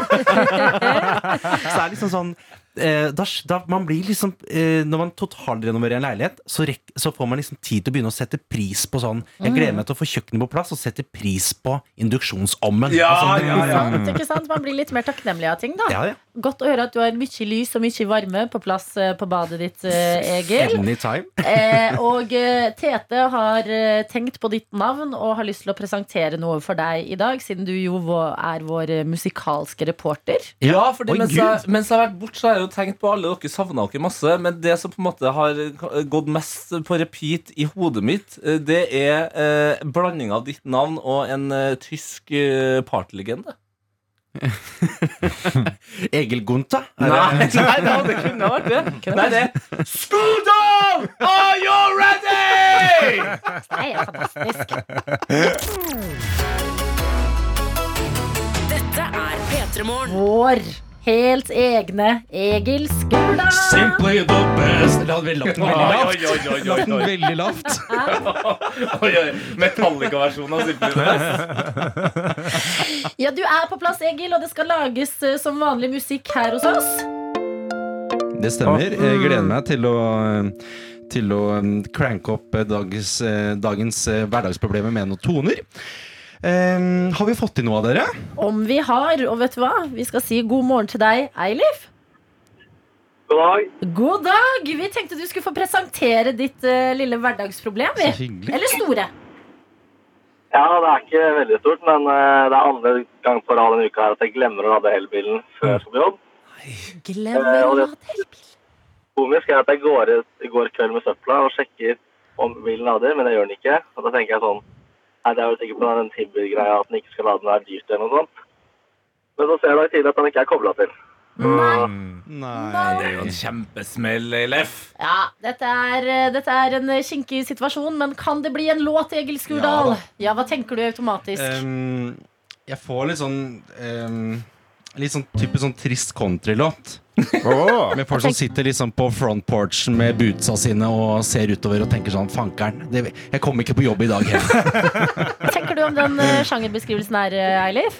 K: så det er liksom sånn eh, da, da man blir liksom eh, Når man totalrenoverer en leilighet, så, rekk, så får man liksom tid til å begynne å sette pris på sånn Jeg gleder meg til å få kjøkkenet på plass og sette pris på induksjonsommen.
D: Ja,
K: Altså,
D: ja, ja.
B: Sant, ikke sant? Man blir litt mer takknemlig av ting, da.
K: ja, ja.
B: Godt å høre at du har mye lys og mye varme på plass eh, på badet ditt, eh, Egil.
K: Anytime.
B: Eh, og eh, Tete har eh, tenkt på ditt navn og har lyst til å presentere noe for deg i dag, siden du jo vå- er vår eh, musikalske reporter.
D: Ja, fordi
K: Oi,
D: mens jeg, mens jeg har vært borte, så har jeg jo tenkt på alle dere savna dere masse. Men det som på en måte har gått mest på repeat i hodet mitt, eh, det er eh, blanding av ditt navn og en eh, tysk eh, partylegende.
K: Egil Gunther?
D: Nei, nei, nei, det kunne vært det. Nei, det er Skudal! Are you ready?
B: Det er fantastisk.
A: Dette er P3 Morgen.
B: Vår helt egne Egil Skurdal.
K: Simply the best. La den veldig lavt.
D: oi, oi, oi,
K: La den veldig lavt.
D: oi, oi. Metallica-versjonen av Simpelthen.
B: Ja, du er på plass, Egil, og det skal lages eh, som vanlig musikk her hos oss.
K: Det stemmer. Jeg gleder meg til å eh, til å um, cranke opp eh, dagens, eh, dagens eh, hverdagsproblemer med noen toner. Em, har vi fått inn noe av dere?
B: Om vi har, og vet du hva? Vi skal si god morgen til deg, Eilif. God dag! Vi tenkte du skulle få presentere ditt eh, lille hverdagsproblem. vi.
K: hyggelig.
B: Eller store.
H: Ja, det er ikke veldig stort, men eh, det er andre gang på rad denne uka her at jeg glemmer å lade elbilen før jeg skal på jobb. Eh,
B: Glemmer å lade elbil?
H: Komisk er at jeg går, ut- går kveld med søpla og sjekker om bilen lader, men det gjør den ikke. Og da tenker jeg sånn Nei, det er jo sikkert på den Timber-greia at den ikke skal lade den er dyrt eller noe sånt. Men så ser jeg da tidlig at den ikke er kobla til.
D: Nei, det er jo en kjempesmell, Leif.
B: Ja, dette er, eh, dette er en kinkig situasjon, men kan det bli en låt, Egil Skurdal? Ja, hva tenker du automatisk?
C: Eh,
K: Ehm, jeg får litt sånn ehm, Litt sånn type sånn trist countrylåt. Med folk som sitter liksom på front porchen med bootsa sine og ser utover og tenker sånn Fankeren, det, jeg kommer ikke på jobb i dag. Jeg.
B: Hva tenker du om den eh, sjangerbeskrivelsen her, eh, Eilif?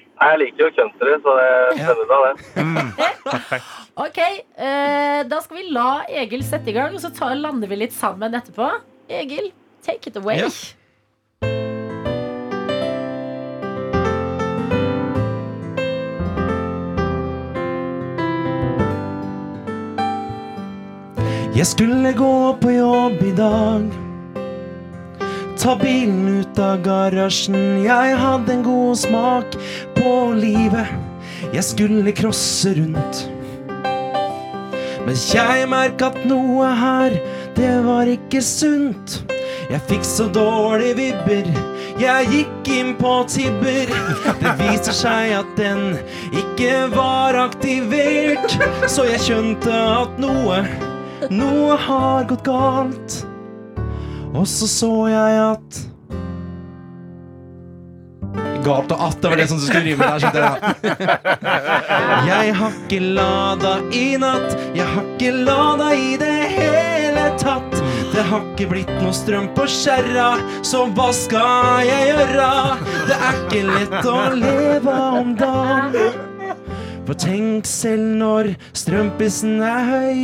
H: Nei, jeg liker jo country, så det stemmer bra, det.
B: Ok, eh, da skal vi la Egil sette i gang, og så ta, lander vi litt sammen etterpå. Egil, take it away.
K: Ja. Jeg skulle gå på jobb i dag. Ta bilen ut av garasjen. Jeg hadde en god smak på livet. Jeg skulle krosse rundt. Men jeg merka at noe her, det var ikke sunt. Jeg fikk så dårlige vibber. Jeg gikk inn på Tibber. Det viser seg at den ikke var aktivert. Så jeg skjønte at noe, noe har gått galt. Og så så jeg at Galt og at, det var det som skulle rime der. skjønte jeg da. Jeg har ikke lada i natt, jeg har ikke lada i det hele tatt. Det har ikke blitt noe strøm på skjerra, så hva skal jeg gjøre? Det er ikke lett å leve om dagen. For tenk selv når strømprisen er høy,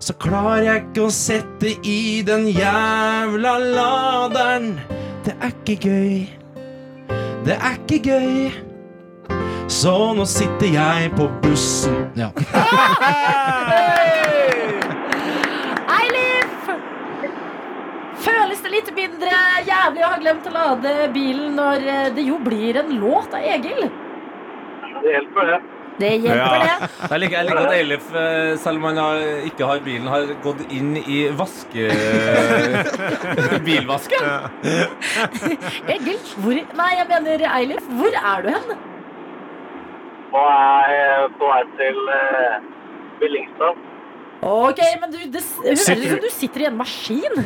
K: så klarer jeg ikke å sette i den jævla laderen. Det er ikke gøy. Det er ikke gøy. Så nå sitter jeg på bussen Ja.
B: Eilif! Føles det litt mindre jævlig å ha glemt å lade bilen når eh, det jo blir en låt av Egil?
H: Det hjelper, det.
B: Det hjelper det.
D: Jeg liker, jeg liker at Eilif, eh, selv om han har, ikke har bilen, har gått inn i vaske... bilvasken.
B: Egil, hvor Nei, jeg mener Eilif, hvor er du hen?
H: Nå er jeg på vei til eh, Billingstad.
B: Ok, men du, det s- høres
C: Sitter
B: ut som
C: du-
B: du sitter i en maskin.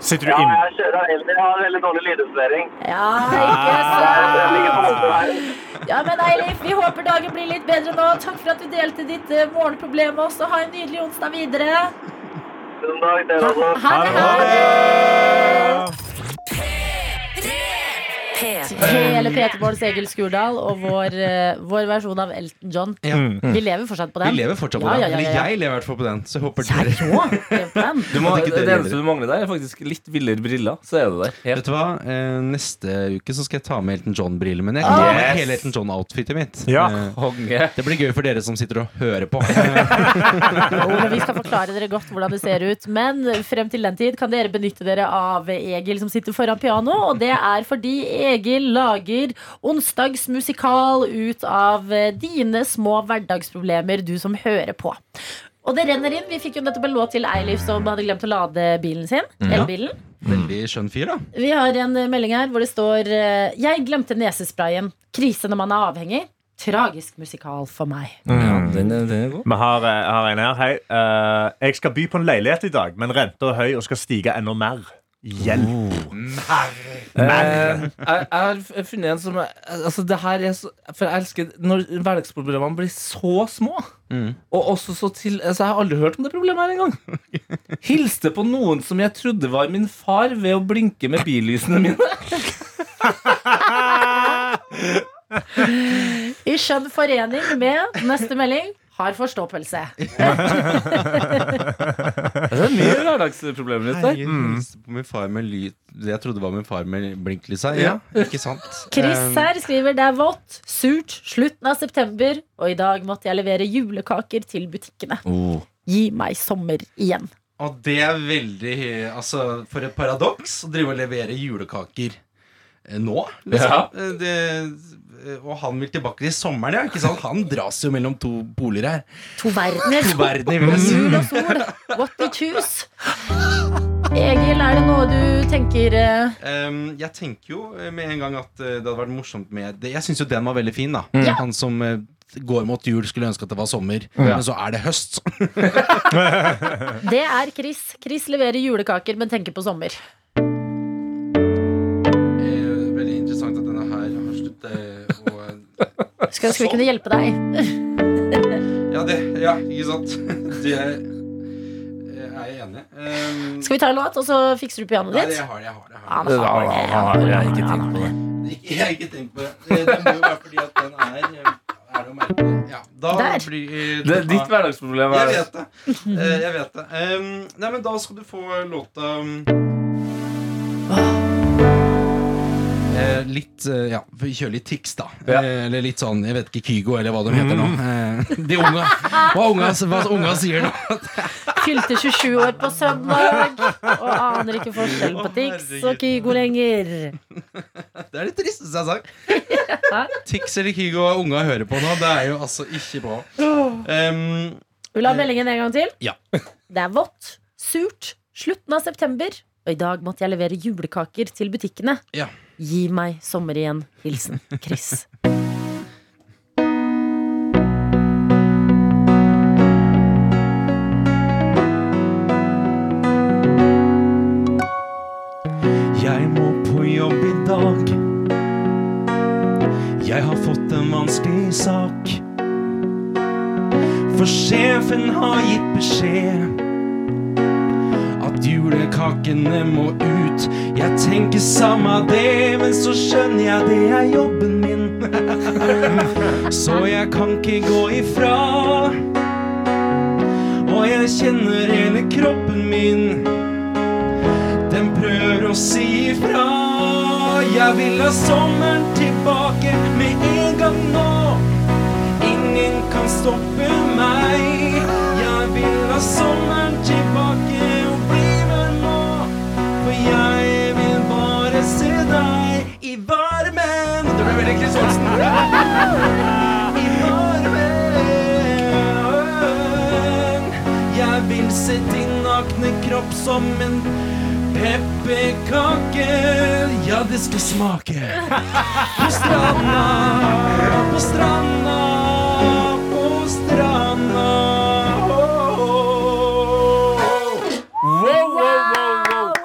C: Sitter du
H: Ja,
C: inn...
H: jeg kjører elbil. Jeg har veldig dårlig lydisolering.
B: Ja,
K: Ah.
H: Jeg ligger på
B: ikke sant?
H: motorveien.
B: Ja, men Eilif, vi håper dagen blir litt bedre nå. Takk for at du delte ditt eh, morgenproblem med oss, og ha en nydelig onsdag videre.
H: Tusen takk, dere også.
B: Ha
C: Ah.
B: det, ha det! Hele Peter Bårds Egil Skurdal og vår, eh, vår versjon av Elton John.
C: Hmm.
B: Vi lever fortsatt på
K: Vi
B: den.
K: lever fortsatt på
B: ja,
K: den.
B: Ja, ja,
K: Eller
B: ja.
K: jeg lever i hvert fall på den. Så jeg håper
B: Jeg
K: dere
B: òg lever på den.
D: Du må,
K: At ikke
D: det,
K: dere
D: det eneste
K: gjør
D: du mangler der, er faktisk litt villere briller. Så er det der.
K: Vet du hva? Eh, neste uke så skal jeg ta med Elton John-brillene mine. Jeg
B: Ah.
K: kan ta med
D: Yes!
K: hele Elton John-outfitet mitt.
C: Ja.
K: Eh,
D: Konge.
K: det blir gøy for dere som sitter og hører på. Eh,
B: Jo, men vi skal forklare dere godt hvordan det ser ut. Men frem til den tid kan dere benytte dere av Egil som sitter foran piano. Og det er fordi Egil lager onsdagsmusikal ut av eh, dine små hverdagsproblemer, du som hører på. Og det renner inn. Vi fikk jo nettopp en låt til Eilif som hadde glemt å lade bilen sin. Elbilen.
K: Veldig skjønn fyr, da.
B: Vi har en eh, melding her hvor det står eh, Jeg glemte nesesprayen. Krise når man er avhengig. Tragisk musikal for meg.
C: Vi har, eh, har en her. Hei. eh, jeg skal by på en leilighet i dag, men renta er høy og skal stige enda mer. Hjelp.
D: Eh, jeg, jeg har f- funnet en som er- Altså, det her er så For jeg elsker når hverdagsproblemene blir så små. Og også så til Altså, jeg har aldri hørt om det problemet her engang. Hilste på noen som jeg trodde var min far, ved å blinke med billysene mine.
B: I skjønn forening med neste melding har forståelse.
D: Det er mye hverdagsproblemer ute der.
K: Herregud, hilste på min far med lyd Det jeg trodde var min far med blinklysa. Ja, ikke sant? Um,
B: Chris her skriver det er vått, surt, slutten av september, og i dag måtte jeg levere julekaker til butikkene.
K: Oh.
B: Gi meg sommer igjen.
K: Og det er veldig Altså, for et paradoks å drive og levere julekaker. eh, nå.
D: Ja.
K: Liksom. Eh, Det, eh, og han vil tilbake til sommeren, ja. Ikke sant? Han dras jo mellom to boliger her.
B: To verdener.
K: To verdener.
B: Jul og sol. What we choose. Egil, er det noe du tenker eh,
K: Ehm, jeg tenker jo eh, med en gang at eh, det hadde vært morsomt med det. Jeg syns jo den var veldig fin, da.
B: Mm. Ja.
K: Han som eh, går mot jul, skulle ønske at det var sommer,
B: Ja.
K: men så er det høst.
B: Det er Chris. Chris leverer julekaker, men tenker på sommer.
K: Eh, veldig interessant at denne her har sluttet eh, å
B: Skulle ønske vi kunne hjelpe deg.
K: Ja, det, ja, ikke sant? Det er er jeg enig. Ehm,
B: Skal Ah. vi ta en låt, og så fikser du pianoet
K: Nei,
B: ditt?
K: jeg har det, jeg har det. Jeg
B: Han
K: har det.
B: har det. han har det.
K: Ikke- Jeg har ikke tenkt på det. Eh, Det må jo være fordi at den er eh, Er det å merke? Ja, da
D: Der.
K: blir eh,
D: Det er ditt hverdagsproblem. er
K: Jeg
D: det.
K: vet det. Eh, Jeg vet det. Ehm, Nei, men da skal du få låta um, eh, Litt eh, Ja, vi kjører litt Tix, da. Eh, Eller litt sånn Jeg vet ikke Kygo, eller hva de heter nå. Eh, De unga. Hva unga, hva unga sier nå.
B: Fylte 27 år på søndag og aner ikke forskjell på Tix og Kygo lenger.
K: Det er det tristeste jeg har sagt. Tix eller Kygo og unga hører på nå. Det er jo altså ikke bra. Ehm,
B: Vil du ha meldingen en gang til?
K: ja.
B: Det er vått, surt, slutten av september. Og i dag måtte jeg levere julekaker til butikkene.
K: Ja.
B: Gi meg sommer igjen. Hilsen Chris.
K: Jeg må på jobb i dag. Jeg har fått en vanskelig sak. For sjefen har gitt beskjed at julekakene må ut. Jeg tenker samme det, men så skjønner jeg det er jobben min. Så jeg kan ikke gå ifra. Og jeg kjenner hele kroppen min. Den prøver å si ifra. Jeg vil ha sommeren tilbake med en gang nå. Ingen kan stoppe meg. Jeg vil ha sommeren tilbake og bli med nå. For jeg vil bare se deg i varmen. Det ble veldig Chris Olsen. I varmen. Jeg vil se din nakne kropp som en Pepperkake, ja, det skal smake. På stranda, på stranda, på stranda. Åh, åh, åh.
D: Wow, wow, wow, wow.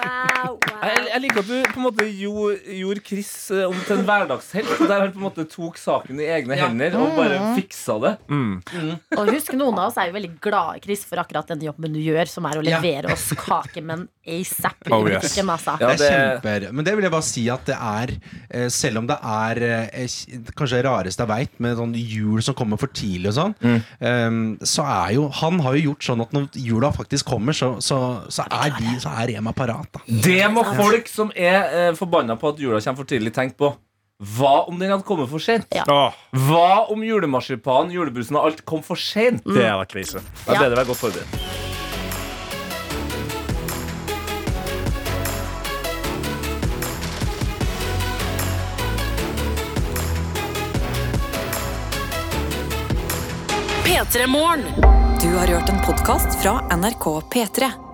B: Wow,
D: Jeg, jeg liker at du på en måte jo, gjorde Chris eh, om til en hverdagshelt. Der han på en måte tok saken i egne hender og bare
B: Mm.
D: fiksa det.
B: Og husk, noen av oss er jo veldig glade, Chris, for akkurat den jobben du gjør, som er å
K: Ja.
B: levere oss kakemenn asap i
K: Oh, yes.
B: butikken, altså.
K: det er kjemper. Men det vil jeg bare si at det er, eh, selv om det er eh, kj- kanskje det rareste jeg veit, med sånn jul som kommer for tidlig og sånn, eh, så er jo Han har jo gjort sånn at når jula faktisk kommer, så, så, så er de Så er Rema parat, da.
D: Det må folk som er eh, forbanna på at jula kommer for tidlig, tenke på. Hva om den hadde kommet for sent? Hva om julemarsipanen, julebrusen og alt kom for sent?
C: Det hadde vært krise.
D: Da
C: Ja.
D: ble det vel godt forberedt.
A: P3 Morgen.
L: Du har hørt en podkast fra NRK P3.